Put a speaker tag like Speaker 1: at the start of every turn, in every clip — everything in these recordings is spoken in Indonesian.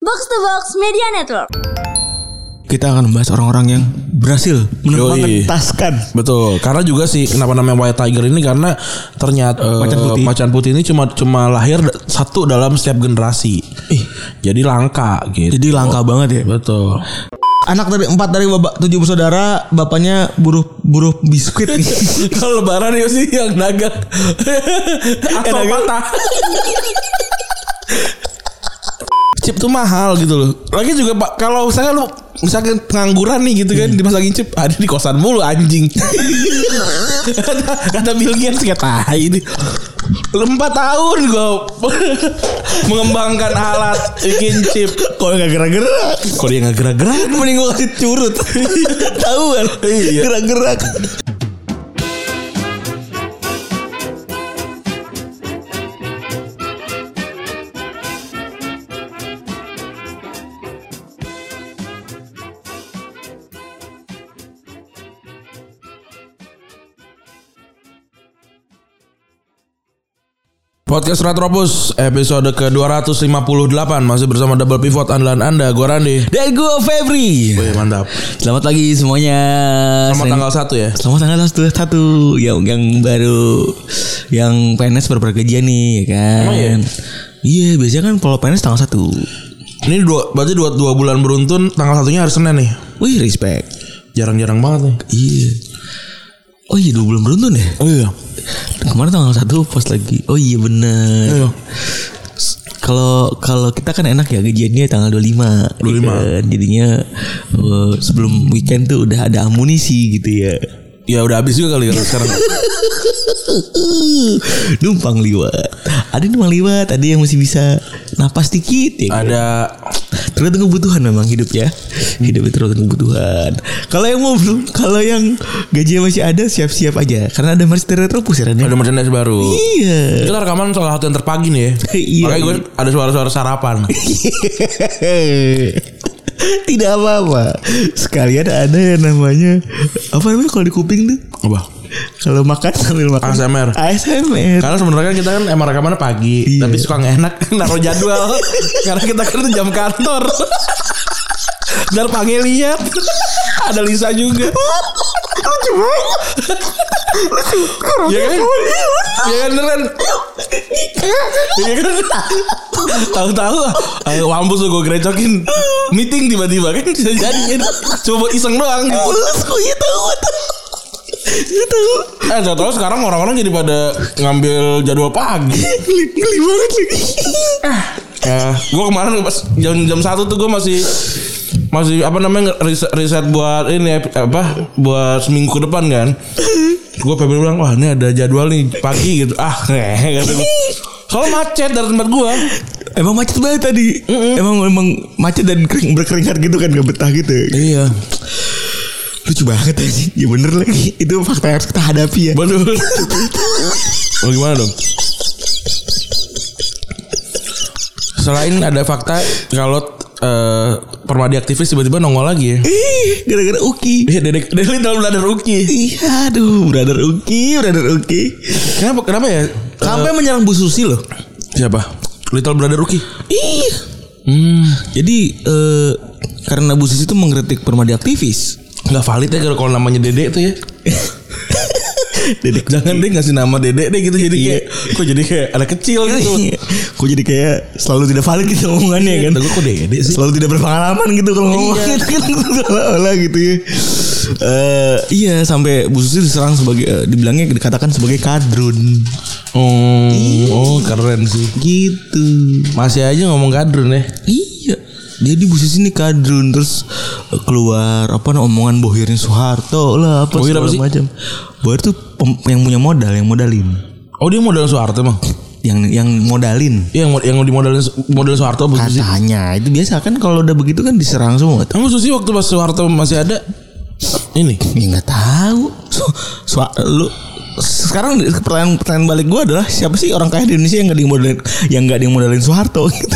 Speaker 1: Box to Box Media Network.
Speaker 2: Kita akan membahas orang-orang yang berhasil kan?
Speaker 3: Yoi.
Speaker 2: menetaskan.
Speaker 3: Betul, karena juga sih kenapa namanya White Tiger ini karena ternyata eh,
Speaker 2: Macan
Speaker 3: macan
Speaker 2: putih.
Speaker 3: putih, ini cuma cuma lahir da- satu dalam setiap generasi.
Speaker 2: Ih.
Speaker 3: Jadi langka gitu.
Speaker 2: Jadi langka banget ya.
Speaker 3: betul.
Speaker 2: Anak dari empat dari bapak tujuh bersaudara, bapaknya buruh buruh biskuit.
Speaker 3: Kalau lebaran ya sih yang dagang. Atau patah. Chip tuh mahal gitu loh. Lagi juga Pak, kalau misalkan lu misalkan pengangguran nih gitu kan
Speaker 2: Hmm.
Speaker 3: dimasangin chip ada di kosan mulu anjing. kata, kata Bill Gates kayak tai ini. Lu Empat tahun gue mengembangkan alat bikin chip.
Speaker 2: Kalau nggak gerak-gerak,
Speaker 3: Kok dia nggak gerak-gerak?
Speaker 2: mending gue kasih curut. Tahu kan?
Speaker 3: Iya.
Speaker 2: Gerak-gerak.
Speaker 3: Podcast Retropus episode ke-258 masih bersama Double Pivot andalan Anda, gua Randi.
Speaker 2: Dan gue Febri.
Speaker 3: Wih, mantap.
Speaker 2: Selamat pagi semuanya.
Speaker 3: Sama
Speaker 2: Senin-
Speaker 3: tanggal 1 ya.
Speaker 2: Selamat tanggal satu satu yang yang baru yang PNS baru bergajian nih ya kan.
Speaker 3: Emang ya?
Speaker 2: Iya biasanya kan kalau PNS tanggal satu.
Speaker 3: Ini dua, berarti dua, dua bulan beruntun tanggal satunya hari Senin nih.
Speaker 2: Wih respect.
Speaker 3: Jarang-jarang banget nih.
Speaker 2: Iya. Oh iya dua bulan beruntun ya.
Speaker 3: Oh iya.
Speaker 2: Kemarin tanggal satu pas lagi. Oh iya bener.
Speaker 3: Iya.
Speaker 2: Kalau kalau kita kan enak ya gajiannya tanggal 25 25
Speaker 3: 25.
Speaker 2: Gitu kan. Jadinya eh, sebelum weekend tuh udah ada amunisi gitu ya
Speaker 3: Ya udah habis juga kali kalau sekarang.
Speaker 2: Numpang liwat Ada yang numpang liwat Ada yang masih bisa Napas dikit ya kan?
Speaker 3: Ada
Speaker 2: Tergantung kebutuhan memang hidup ya. Hidup itu tergantung kebutuhan. Kalau yang mau belum, kalau yang gajinya masih ada siap-siap aja karena ada Mercedes Retropus ya Ren, ya?
Speaker 3: ada merchandise baru.
Speaker 2: Iya.
Speaker 3: Kita rekaman salah satu yang terpagi nih ya.
Speaker 2: Iya.
Speaker 3: Makanya gue ada suara-suara sarapan.
Speaker 2: Tidak apa-apa. Sekalian ada yang namanya apa namanya kalau di kuping tuh?
Speaker 3: Apa?
Speaker 2: Kalau makan sambil makan.
Speaker 3: ASMR.
Speaker 2: ASMR.
Speaker 3: Karena sebenarnya kan kita kan emang rekamannya pagi,
Speaker 2: Iya.
Speaker 3: tapi suka nggak enak naruh jadwal. Karena kita kan itu jam kantor. Dan pagi lihat ada Lisa juga.
Speaker 2: Lucu banget.
Speaker 3: Iya kan? Iya kan beneran. Iya kan? Tahu-tahu eh, wampus tuh gue gerecokin meeting tiba-tiba kan bisa jadi kan. Cuma buat iseng doang. gitu.
Speaker 2: Mulus kok iya tahu. Iya tahu.
Speaker 3: Eh gak tahu sekarang orang-orang jadi pada ngambil jadwal pagi.
Speaker 2: Geli geli banget lagi.
Speaker 3: Ya, gue kemarin pas jam jam satu tuh gue masih masih apa namanya riset, riset buat ini apa buat seminggu ke depan kan. Gue pengen bilang wah ini ada jadwal nih pagi gitu. Ah, eh kata gua. Soalnya macet dari tempat gue.
Speaker 2: Emang macet banget tadi. Emang emang macet dan kering berkeringat gitu kan gak betah gitu.
Speaker 3: Iya.
Speaker 2: Lucu banget aja. Ya bener lagi. Itu fakta yang harus kita hadapi ya.
Speaker 3: Betul. Oh, gimana dong? Selain ada fakta kalau eh, permadi aktivis tiba-tiba nongol lagi ya.
Speaker 2: Ih, gara-gara Uki.
Speaker 3: Iya, dedek, dedek dalam belajar Uki.
Speaker 2: Ih, aduh, brother Uki, brother Uki.
Speaker 3: Kenapa kenapa ya?
Speaker 2: Sampai menyerang Bu Susi loh.
Speaker 3: Siapa? Little Brother Ruki.
Speaker 2: Iya. Jadi eh, karena Bu Susi itu mengkritik permadi aktivis.
Speaker 3: Nggak valid ya kalau- kalau namanya Dede tuh ya.
Speaker 2: Dedek Iya.
Speaker 3: Jangan deh ngasih nama Dede deh gitu jadi kayak kok jadi kayak anak kecil gitu.
Speaker 2: Kok jadi kayak selalu tidak valid gitu omongannya kan.
Speaker 3: Lagu kok Dede sih?
Speaker 2: selalu tidak berpengalaman gitu kalau ngomong
Speaker 3: Iya.
Speaker 2: Kan seolah-olah gitu ya. Eh, iya sampai Bu Susi diserang sebagai eh, dibilangnya dikatakan sebagai kadrun
Speaker 3: Oh, oh keren sih.
Speaker 2: gitu.
Speaker 3: Masih aja ngomong kadrun ya.
Speaker 2: Iya. Jadi Bu Susi ini kadrun terus eh, keluar apa nah, omongan bohirnya Soeharto lah apa
Speaker 3: Bohir Oh, iya, apa
Speaker 2: segala
Speaker 3: sih?
Speaker 2: macam. Bohir tuh pem- yang punya modal, yang modalin.
Speaker 3: Oh dia modal Soeharto emang?
Speaker 2: Yang yang modalin.
Speaker 3: Iya yang, mod- yang dimodalin modal Soeharto Bu Susi.
Speaker 2: Katanya itu biasa kan kalau udah begitu kan diserang semua tuh.
Speaker 3: Emang Susi waktu pas Soeharto masih ada ini
Speaker 2: Ya nggak tahu. So, so, lu sekarang pertanyaan pertanyaan balik gue adalah siapa sih orang kaya di Indonesia yang nggak dimodalin yang nggak dimodalin Soeharto gitu.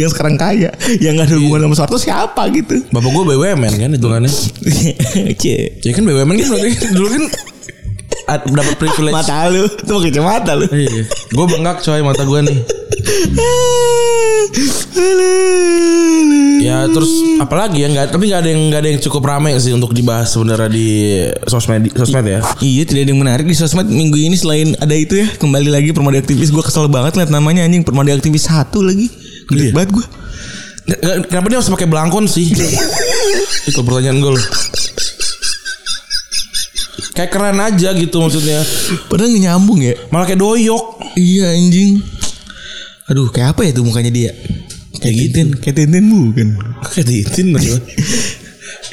Speaker 2: yang sekarang kaya, yang nggak ada hubungan sama Soeharto siapa gitu.
Speaker 3: bapak gue BWMN kan hitungannya.
Speaker 2: Cie.
Speaker 3: Ya kan BWMN kan berarti dulu kan ad- dapat privilege.
Speaker 2: Mata lu, itu mau kacamata lu.
Speaker 3: Iya. Gue bengkak coy mata gue nih.
Speaker 2: Aduh. Iya.
Speaker 3: Ya terus
Speaker 2: Hmm.
Speaker 3: apalagi ya nggak tapi nggak ada yang nggak ada yang cukup ramai sih untuk dibahas sebenarnya di sosmed sosmed ya.
Speaker 2: Iya tidak ada yang menarik di sosmed minggu ini selain ada itu ya kembali lagi permadi aktivis gue kesel banget liat namanya anjing permadi aktivis satu lagi gede banget gue
Speaker 3: Nggak- nggak- Kenapa dia harus pakai belangkon sih? Itu pertanyaan gue loh. Kayak keren aja gitu maksudnya.
Speaker 2: padahal nggak nyambung ya
Speaker 3: Malah kayak doyok.
Speaker 2: iya anjing aduh kayak apa ya tuh mukanya dia kayak gituin kayak tenten bukan
Speaker 3: Kayak diitin lagi.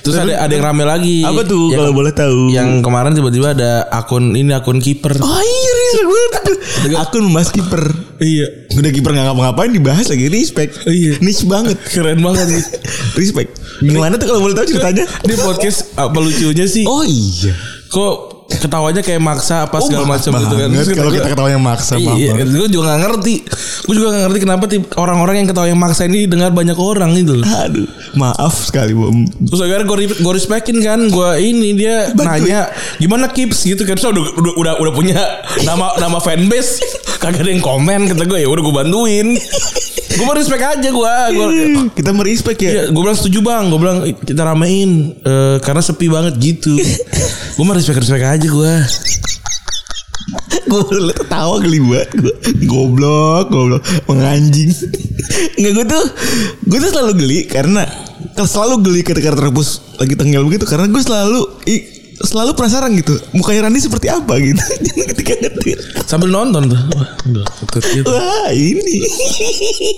Speaker 3: Terus ada ada yang rame lagi.
Speaker 2: apa tuh
Speaker 3: Yang,
Speaker 2: kalau boleh tahu
Speaker 3: yang kemarin tiba-tiba ada akun ini akun kiper.
Speaker 2: Oh iya respect banget Akun membahas kiper
Speaker 3: Iya.
Speaker 2: Udah kiper gak ngapa-ngapain dibahas lagi Respect
Speaker 3: Iya.
Speaker 2: Niche banget
Speaker 3: Keren banget gitu.
Speaker 2: Respect Gimana tuh kalau boleh tahu ceritanya
Speaker 3: Ini podcast apa lucunya sih?
Speaker 2: Oh iya
Speaker 3: Kok ketawanya kayak maksa apa segala
Speaker 2: maaf
Speaker 3: macam gitu kan.
Speaker 2: banget
Speaker 3: Terus
Speaker 2: Kalau kita ketawa yang maksa maaf
Speaker 3: Iya,
Speaker 2: banget.
Speaker 3: gue juga gak ngerti. Gue juga gak ngerti kenapa tip- orang-orang yang ketawa yang maksa ini dengar banyak orang gitu loh.
Speaker 2: Aduh Maaf sekali Bom
Speaker 3: Terus akhirnya gue gue respectin kan, gue ini dia nanya gimana kips gitu kan. Terus udah udah udah, udah punya nama nama fanbase, kagak ada yang komen kata gue ya udah gue bantuin. gue mau respect aja gue. Gue
Speaker 2: Kita merespek ya
Speaker 3: Iya, gue bilang setuju bang. Gue bilang "Eh, kita ramein eh, karena sepi banget gitu. gue mah respect respect aja gue.
Speaker 2: Gue liat ketawa geli banget gue Goblok Goblok Menganjing Nggak gue tuh Gue tuh selalu geli Karena kalau Selalu geli ketika terpus Lagi tenggelam gitu Karena gue selalu i- Selalu penasaran gitu Mukanya Randi seperti apa gitu Ketika ngetir
Speaker 3: Sambil nonton tuh. gitu.
Speaker 2: Wah ini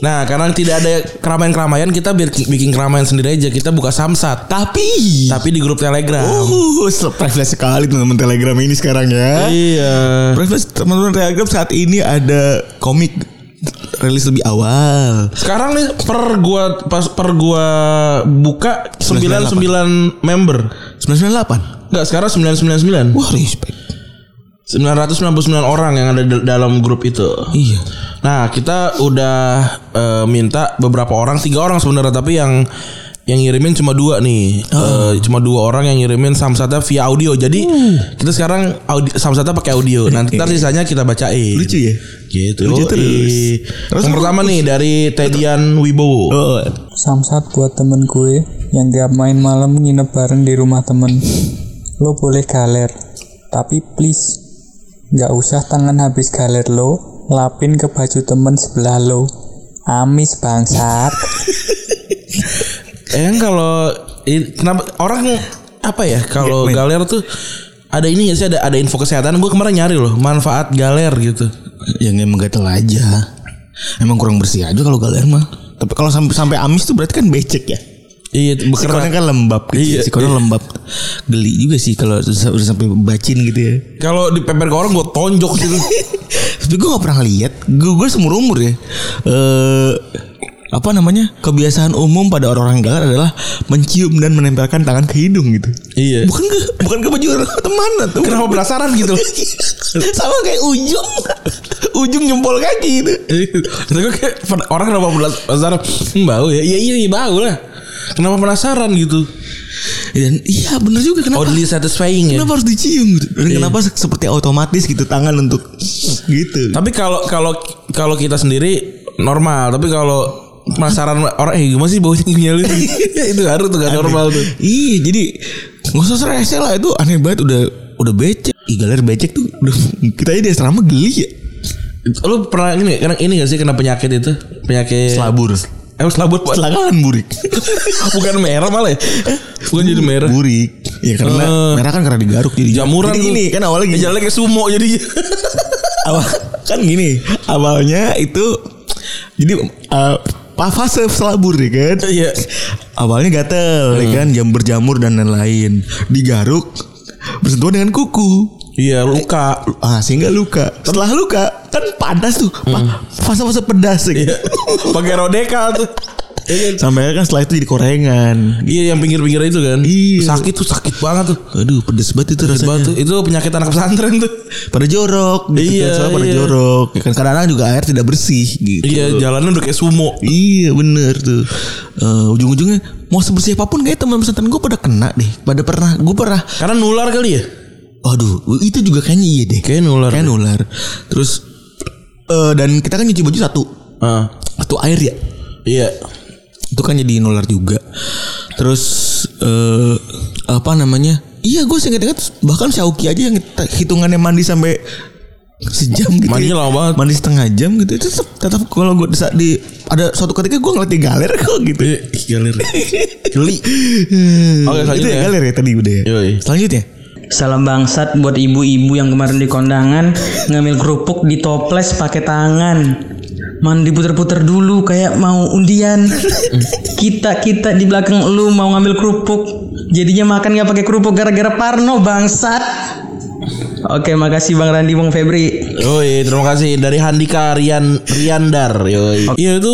Speaker 3: Nah, karena tidak ada keramaian-keramaian, kita biar bikin keramaian sendiri aja. Kita buka samsat,
Speaker 2: Tapi
Speaker 3: tapi di grup Telegram.
Speaker 2: Uh, privilege sekali teman-teman Telegram ini sekarang ya.
Speaker 3: Iya.
Speaker 2: Privilege teman-teman Telegram saat ini ada komik rilis lebih awal.
Speaker 3: Sekarang nih per gua pas per gua buka 99 member.
Speaker 2: 998.
Speaker 3: Enggak, sekarang 999.
Speaker 2: Wah, respect.
Speaker 3: 999 orang yang ada di dalam grup itu.
Speaker 2: Iya.
Speaker 3: Nah kita udah eh, minta beberapa orang tiga orang sebenarnya tapi yang yang ngirimin cuma dua nih
Speaker 2: Oh.
Speaker 3: Eh, cuma dua orang yang ngirimin samsatnya via audio jadi
Speaker 2: Hmm.
Speaker 3: kita sekarang audi, samsatnya pakai audio nanti ntar sisanya kita bacain
Speaker 2: Lucu ya?
Speaker 3: gitu
Speaker 2: Lucu terus.
Speaker 3: Ih.
Speaker 2: Terus
Speaker 3: yang pertama nih dari Tedian Wibowo
Speaker 2: Oh,
Speaker 1: Samsat buat temen gue yang tiap main malam nginep bareng di rumah temen. Lo boleh galer, tapi please nggak usah tangan habis galer lo lapin ke baju temen sebelah lo. Amis bangsat.
Speaker 3: eh kalau i- kenapa orang apa ya kalau
Speaker 2: Iya,
Speaker 3: galer tuh ada ini gak sih ada ada info kesehatan gue kemarin nyari loh manfaat galer gitu
Speaker 2: yang emang gatel Ya, aja. Emang kurang bersih aja kalau kalian mah. Tapi kalau sampai sampai amis tuh berarti kan becek ya.
Speaker 3: iya bekerja
Speaker 2: Sikonnya kan lembab gitu.
Speaker 3: Iya,
Speaker 2: Sikonnya lembab. Geli juga sih kalau udah sampai bacin gitu ya.
Speaker 3: Kalau di pemper ke orang gue tonjok gitu.
Speaker 2: Tapi gue gak pernah lihat. Gue gue seumur umur ya. Eh apa namanya kebiasaan umum pada orang-orang galer adalah mencium dan menempelkan tangan ke hidung gitu.
Speaker 3: iya.
Speaker 2: Bukan ke bukan ke baju orang teman atau
Speaker 3: Kenapa penasaran gitu?
Speaker 2: sama kayak ujung ujung jempol kaki gitu.
Speaker 3: Kata gue kayak pen- orang kenapa penasaran? Hmm, bau ya? Iya iya iya, bau lah. Kenapa penasaran gitu?
Speaker 2: Dan iya bener juga kenapa
Speaker 3: Oddly satisfying ya.
Speaker 2: kenapa harus dicium gitu. Dan
Speaker 3: Iya.
Speaker 2: kenapa se- seperti otomatis gitu tangan untuk gitu.
Speaker 3: Tapi kalau kalau kalau kita sendiri normal, tapi kalau penasaran orang eh gimana sih baunya gini lu? Ya, itu harus tuh gak normal tuh.
Speaker 2: Iya jadi nggak usah serese lah itu aneh banget udah udah becek. Ih galer becek tuh udah kita di asrama geli ya.
Speaker 3: Lu pernah ini karena ini gak sih kena penyakit itu? Penyakit
Speaker 2: Selabur.
Speaker 3: Eh selabut Pak.
Speaker 2: Selakalan burik.
Speaker 3: bukan merah malah ya. Bukan jadi merah.
Speaker 2: Burik. Ya karena
Speaker 3: Eh.
Speaker 2: merah kan karena digaruk jadi
Speaker 3: Jamuran
Speaker 2: Jadi
Speaker 3: tuh.
Speaker 2: gini kan awalnya gini.
Speaker 3: Jalannya kayak sumo jadi.
Speaker 2: awal kan gini awalnya itu jadi eh, pa- fase selabur ya kan
Speaker 3: Iya. Hmm.
Speaker 2: awalnya gatel ya kan jam berjamur dan lain-lain digaruk bersentuhan dengan kuku
Speaker 3: Iya luka.
Speaker 2: ah sehingga luka setelah luka kan panas tuh pa- fase-fase pedas ya kan?
Speaker 3: Hmm. Iya. Pakai rodeka tuh. Iya kan?
Speaker 2: sampai kan setelah itu jadi korengan
Speaker 3: Iya yang pinggir-pinggir itu kan.
Speaker 2: Iya.
Speaker 3: Sakit tuh sakit banget tuh.
Speaker 2: aduh pedes banget itu rasanya
Speaker 3: Batu itu penyakit anak pesantren tuh.
Speaker 2: pada jorok gitu
Speaker 3: Iya,
Speaker 2: kan, soalnya pada
Speaker 3: iya.
Speaker 2: jorok ya kan kadang-kadang juga air tidak bersih gitu
Speaker 3: Iya jalannya udah kayak sumo.
Speaker 2: Iya bener tuh Eh, Ujung-ujungnya Mau sebersih apapun kayak teman pesantren gue pada kena deh Pada pernah Gue pernah
Speaker 3: Karena nular kali ya.
Speaker 2: Waduh itu juga kayaknya iya deh
Speaker 3: Kayaknya nular.
Speaker 2: Kayak nular Terus eh Dan kita kan nyuci baju satu
Speaker 3: Ah.
Speaker 2: Satu air ya
Speaker 3: Iya.
Speaker 2: itu kan jadi nular juga terus eh, apa namanya iya gue seingat-ingat bahkan Syauki aja yang t- hitungannya mandi sampai sejam gitu ya.
Speaker 3: Mandinya lama banget.
Speaker 2: mandi setengah jam gitu itu tetap, tetap kalau gue desa- di ada suatu ketika gue ngeliat di galer kok gitu
Speaker 3: Ih, Galer.
Speaker 2: Geli.
Speaker 3: Oke,
Speaker 2: Oke, itu ya
Speaker 3: selanjutnya ya.
Speaker 2: galer ya tadi udah. ya?
Speaker 3: Yoi.
Speaker 2: Selanjutnya.
Speaker 4: Salam bangsat buat ibu-ibu yang kemarin di kondangan ngambil kerupuk di toples pakai tangan. Mandi puter-puter dulu kayak mau undian. Kita kita di belakang lu mau ngambil kerupuk. Jadinya makan nggak pakai kerupuk gara-gara Parno bangsat. Oke, makasih Bang Randi, Bang Febri.
Speaker 3: Yoi, terima kasih dari Handika Rian Riandar. Yoi. Iya itu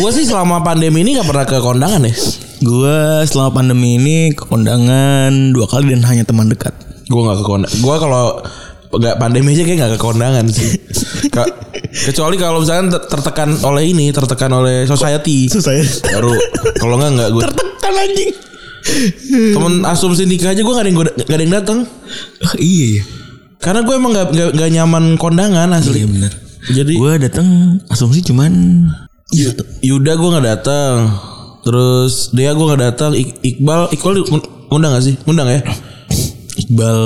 Speaker 3: gue sih selama pandemi ini gak pernah ke kondangan ya.
Speaker 2: Gue selama pandemi ini ke kondangan dua kali dan hanya teman dekat.
Speaker 3: Gue gak ke kondangan. Gue kalau nggak pandemi aja kayak gak ke kondangan sih. Ka- kecuali kalau misalnya ter- tertekan oleh ini, tertekan oleh society.
Speaker 2: Susah ya.
Speaker 3: Baru kalau nggak nggak gue
Speaker 2: Tertekan anjing.
Speaker 3: temen asumsi nikah aja gue gak ada yang, gua- nggak ada yang datang
Speaker 2: Ah, iya ya.
Speaker 3: karena gue emang gak, nggak nggak nyaman kondangan asli.
Speaker 2: Iya benar.
Speaker 3: Jadi
Speaker 2: Gue datang asumsi cuman iya tuh.
Speaker 3: Yuda gue nggak datang. Terus dia gue nggak datang. Ik- Iqbal, Iqbal diund- ngundang gak sih? Ngundang ya?
Speaker 2: Iqbal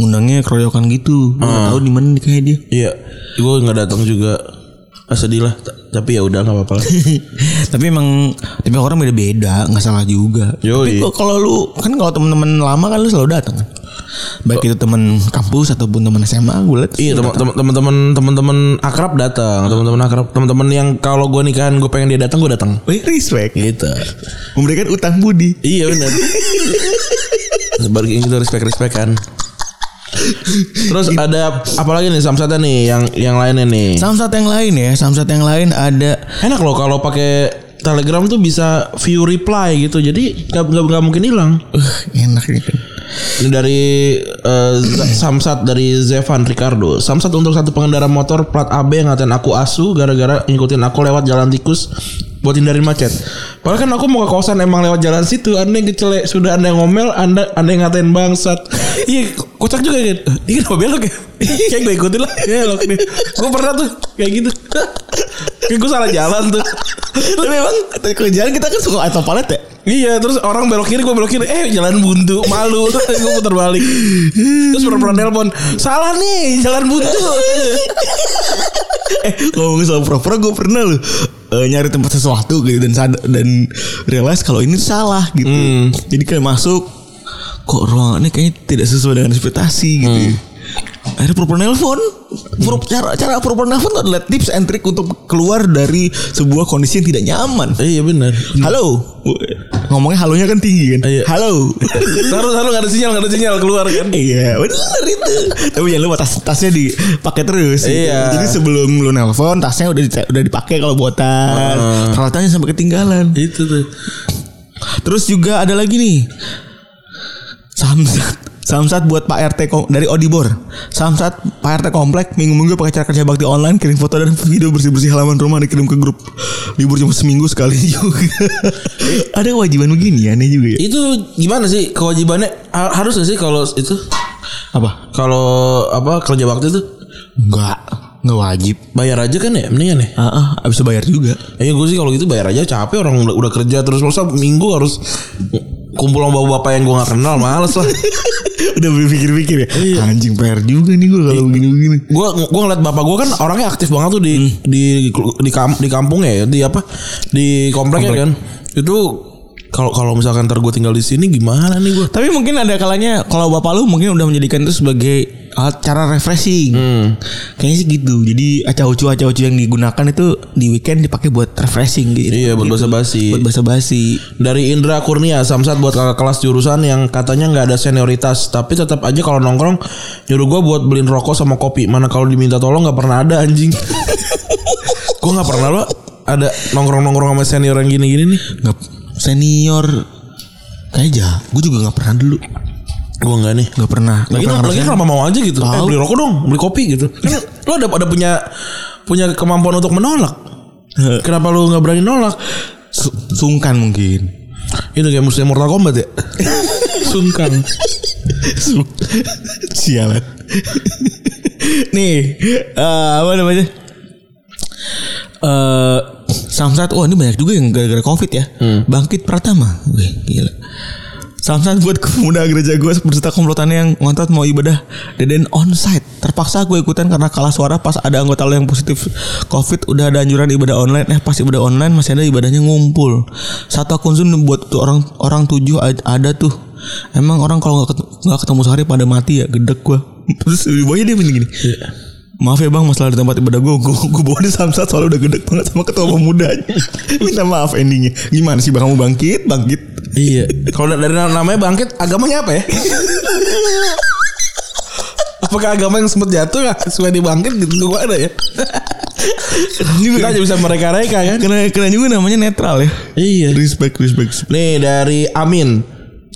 Speaker 2: ngundangnya keroyokan gitu. Gue nggak tahu di mana nikahnya dia.
Speaker 3: Iya. Gue nggak datang juga. Ah, sedih lah. Ta- Tapi ya udah nggak apa-apa lah.
Speaker 2: tapi emang tapi orang beda-beda nggak salah juga
Speaker 3: Yoi.
Speaker 2: tapi kok kalau lu kan kalau temen-temen lama kan lu selalu datang kan baik itu temen kampus ataupun temen SMA gue liat
Speaker 3: Iya teman- teman- teman-teman teman-teman akrab datang, teman-teman akrab, teman-teman yang kalau gue nikahan gue pengen dia datang gue datang.
Speaker 2: Wih, respect
Speaker 3: Gitu.
Speaker 2: memberikan utang budi
Speaker 3: Iya benar. Sebagai gitu respect respect kan. Terus ada apalagi nih samsatnya nih yang yang lainnya nih.
Speaker 2: Samsat yang lain ya Samsat yang lain ada
Speaker 3: Enak loh kalau pakai Telegram tuh bisa view reply gitu. Jadi nggak nggak nggak mungkin hilang.
Speaker 2: uh, enak gitu
Speaker 3: Ini dari eh, Z- Samsat dari Zevan Ricardo. Samsat untuk satu pengendara motor plat AB ngatain aku asu gara-gara ngikutin aku lewat jalan tikus buat hindarin macet. Padahal kan aku mau ke kosan emang lewat jalan situ. Anda yang kecelek sudah Anda yang ngomel, Anda Anda yang ngatain bangsat. Iya, kocak juga kan. Ini kenapa belok ya? Kayak gue ikutin lah. Iya, Belok nih. Gue pernah tuh kayak gitu. Kayak gue salah jalan tuh.
Speaker 2: tapi memang tadi kalau jalan kita kan suka atau palet ya
Speaker 3: Iya terus orang belok kiri gue belok kiri Eh jalan buntu malu Terus gue putar balik Terus pernah telepon Salah nih jalan buntu
Speaker 2: eh ngomong soal pura-pura gue pernah loh eh, nyari tempat sesuatu gitu dan sadar dan realize kalau ini salah gitu jadi kayak masuk kok ruangannya kayaknya tidak sesuai dengan ekspektasi gitu akhirnya pura-pura nelpon Pura- cara cara pura-pura nelpon tuh adalah tips and trick untuk keluar dari sebuah kondisi yang tidak nyaman
Speaker 3: Iya benar
Speaker 2: halo ngomongnya halonya kan tinggi kan
Speaker 3: Iya.
Speaker 2: halo
Speaker 3: Taruh taruh gak ada sinyal gak ada sinyal keluar kan
Speaker 2: Iya bener itu Tapi jangan lupa tas tasnya dipakai terus gitu.
Speaker 3: Iya.
Speaker 2: Jadi sebelum lu nelpon Tasnya udah di- udah dipakai kalau buat tas Peralatannya sampai ketinggalan
Speaker 3: Itu tuh
Speaker 2: Terus juga ada lagi nih Samsat Samsat buat Pak RT kom- dari Odibor Samsat Pak RT komplek Minggu-minggu pakai cara kerja bakti online Kirim foto dan video bersih-bersih halaman rumah Dikirim ke grup Libur cuma seminggu sekali juga Ada kewajiban begini aneh juga
Speaker 3: Iya.
Speaker 2: ya
Speaker 3: Itu gimana sih kewajibannya Ha- Harus gak sih kalau itu
Speaker 2: Apa?
Speaker 3: Kalau apa kerja waktu itu
Speaker 2: Enggak Enggak wajib
Speaker 3: Bayar aja kan ya mendingan ya
Speaker 2: Ah, ah, abis itu bayar juga
Speaker 3: Ya gue sih kalau gitu bayar aja capek orang udah, udah kerja terus masa minggu harus kumpul sama bapak-bapak yang gue gak kenal males lah
Speaker 2: udah berpikir-pikir ya anjing PR juga nih gue kalau begini-begini
Speaker 3: gue gue ngeliat bapak gue kan orangnya aktif banget tuh di di di, kam, di kampungnya ya di apa di kompleknya kan itu kalau kalau misalkan ntar gue tinggal di sini gimana nih gue
Speaker 2: tapi mungkin ada kalanya kalau bapak lu mungkin udah menjadikan itu sebagai alat cara refreshing
Speaker 3: Hmm.
Speaker 2: kayaknya sih gitu jadi acau-acu acau-acu yang digunakan itu di weekend dipakai buat refreshing gitu
Speaker 3: iya buat bahasa basi
Speaker 2: buat basa-basi
Speaker 3: dari Indra Kurnia Samsat buat kakak kelas jurusan yang katanya nggak ada senioritas tapi tetap aja kalau nongkrong nyuruh gue buat beliin rokok sama kopi mana kalau diminta tolong nggak pernah ada anjing gue nggak pernah lo ada nongkrong nongkrong sama senior yang gini gini nih
Speaker 2: nggak senior kayaknya gue juga nggak pernah dulu
Speaker 3: gue nggak nih
Speaker 2: nggak pernah nggak
Speaker 3: lagi kan-
Speaker 2: pernah
Speaker 3: lagi
Speaker 2: ngerasain.
Speaker 3: kenapa mau aja gitu eh,
Speaker 2: Tahu.
Speaker 3: beli rokok dong beli kopi gitu kan lo ada ada punya punya kemampuan untuk menolak kenapa lo nggak berani nolak
Speaker 2: Su- sungkan mungkin
Speaker 3: itu kayak musuhnya Mortal Kombat ya sungkan
Speaker 2: Sialan. Nih, eh, apa namanya? Eh Samsat, wah ini banyak juga yang gara-gara covid ya. Bangkit Pratama, Wih, gila. Samsat buat pemuda gereja gue bercerita komplotannya yang ngotot mau ibadah Deden onsite Terpaksa gue ikutan karena kalah suara pas ada anggota lo yang positif covid Udah ada anjuran ibadah online Eh pas ibadah online masih ada ibadahnya ngumpul Satu akun Zoom buat tuh orang orang tujuh ad- ada tuh Emang orang kalau nggak ket- nggak ketemu sehari pada mati ya gedek gue Terus lebih bawahnya dia bilang gini Maaf ya bang masalah di tempat ibadah gue Gue, gue bawa di samsat soalnya udah gedek banget sama ketua pemudanya Minta maaf endingnya Gimana sih bang kamu bangkit Bangkit
Speaker 3: Iya. Kalau dari namanya bangkit, agamanya apa ya? Apakah agama yang sempat jatuh ya? Supaya dibangkit gitu gua ada ya. Kita aja bisa mereka-reka kan.
Speaker 2: Kena kena juga namanya netral ya.
Speaker 3: Iya.
Speaker 2: Respect, respect.
Speaker 3: Nih dari Amin.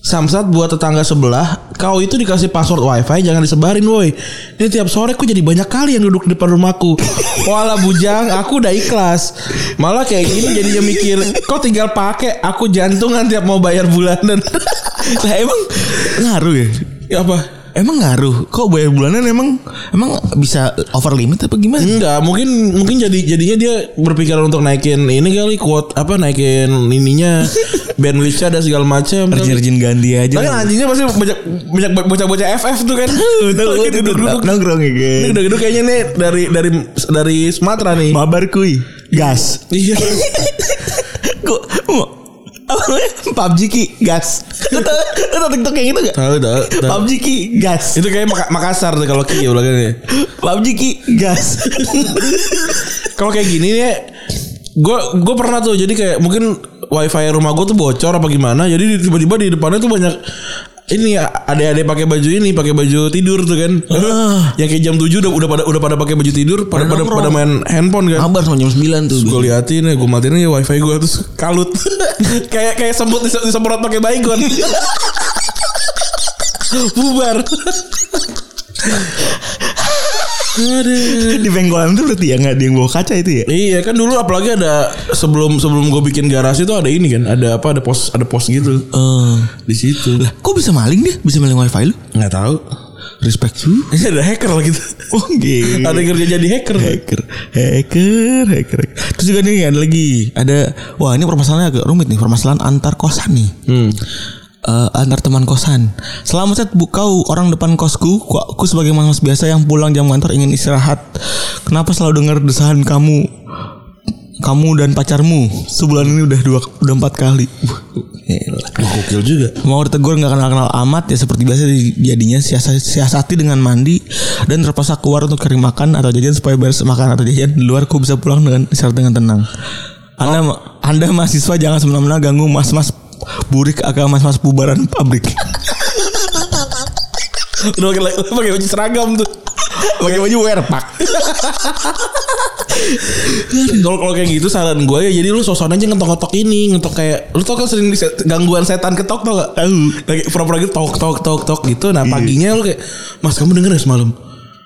Speaker 3: Samsat buat tetangga sebelah, kau itu dikasih password wifi jangan disebarin woi. Ini tiap sore ku jadi banyak kali yang duduk di depan rumahku. Walah bujang, aku udah ikhlas. Malah kayak gini jadinya mikir, kau tinggal pakai, aku jantungan tiap mau bayar bulanan.
Speaker 2: Lah emang ngaruh ya?
Speaker 3: ya apa?
Speaker 2: Emang ngaruh? Kok bayar bulanan emang emang bisa over limit apa gimana?
Speaker 3: Enggak, mungkin mungkin jadi jadinya dia berpikiran untuk naikin ini kali kuat apa naikin ininya bandwidthnya ada segala macam. Tapi
Speaker 2: Rajin-rajin ganti aja.
Speaker 3: kan anjingnya pasti banyak banyak bo- bocah-bocah FF tuh kan.
Speaker 2: Tahu
Speaker 3: Gitu, duduk-duduk.
Speaker 2: nongkrong ya
Speaker 3: Ini
Speaker 2: guys.
Speaker 3: nah, Duduk-duduk kayaknya nih dari dari dari Sumatera nih.
Speaker 2: Mabar kuy. Gas.
Speaker 3: Iya.
Speaker 2: Kok mau apa namanya? PUBG ki gas. Lu tau lu tau TikTok gitu yang itu gak?
Speaker 3: Tahu tahu. tahu.
Speaker 2: PUBG ki gas.
Speaker 3: Itu kayak Maka- Makassar tuh kalau Kia belakangnya.
Speaker 2: PUBG ki gas.
Speaker 3: Kalau kayak gini nih Gue gue pernah tuh jadi kayak mungkin wifi rumah gue tuh bocor apa gimana jadi di- tiba-tiba di depannya tuh banyak ini ya adek-adek pakai baju ini pakai baju tidur tuh kan
Speaker 2: Ah,
Speaker 3: yang kayak jam 7 udah udah pada udah pada pakai baju tidur pada pada, pada main handphone kan
Speaker 2: Mabar sama jam 9 tuh.
Speaker 3: gue liatin ya gue matiin ya wifi gue terus kalut kayak kayak sembut dise- disemprot pakai baygon bubar
Speaker 2: Di pengkolan tuh berarti ya nggak ada yang bawa kaca itu ya?
Speaker 3: Iya kan dulu apalagi ada sebelum sebelum gue bikin garasi tuh ada ini kan ada apa ada pos ada pos gitu
Speaker 2: Eh,
Speaker 3: di situ
Speaker 2: lah kok bisa maling dia? Bisa maling wifi lu?
Speaker 3: nggak tahu
Speaker 2: Respect you.
Speaker 3: ini ada hacker lah gitu
Speaker 2: Oh gitu.
Speaker 3: ada yang kerja jadi hacker
Speaker 2: hacker, hacker, hacker. Terus juga nih ada lagi, ada wah ini permasalahannya agak rumit nih, permasalahan antar kosan nih. Eh, antar teman kosan. Selama set bukau orang depan kosku, ku, ku sebagai mas biasa yang pulang jam kantor ingin istirahat. Kenapa selalu dengar desahan kamu? Kamu dan pacarmu sebulan ini udah dua udah empat kali.
Speaker 3: Wah, gokil juga
Speaker 2: Mau ditegur nggak kenal-kenal amat ya seperti biasa di- jadinya siasa- siasati dengan mandi dan terpaksa keluar untuk cari makan atau jajan supaya beres makan atau jajan di luar ku bisa pulang dengan istirahat dengan tenang. Anda
Speaker 3: Oh.
Speaker 2: Anda mahasiswa jangan semena-mena ganggu mas-mas burik agama mas-mas bubaran pabrik.
Speaker 3: udah pakai pakai baju seragam tuh
Speaker 2: Pakai baju werpak.
Speaker 3: kalau kalau kayak gitu saran gue ya jadi lu sosokan aja ngetok-ngetok ini ngetok kayak lu tau kan sering dise- gangguan setan ketok tau gak tahu kayak pura-pura gitu tok tok tok tok gitu
Speaker 2: Iya.
Speaker 3: nah paginya lu kayak mas kamu denger ya semalam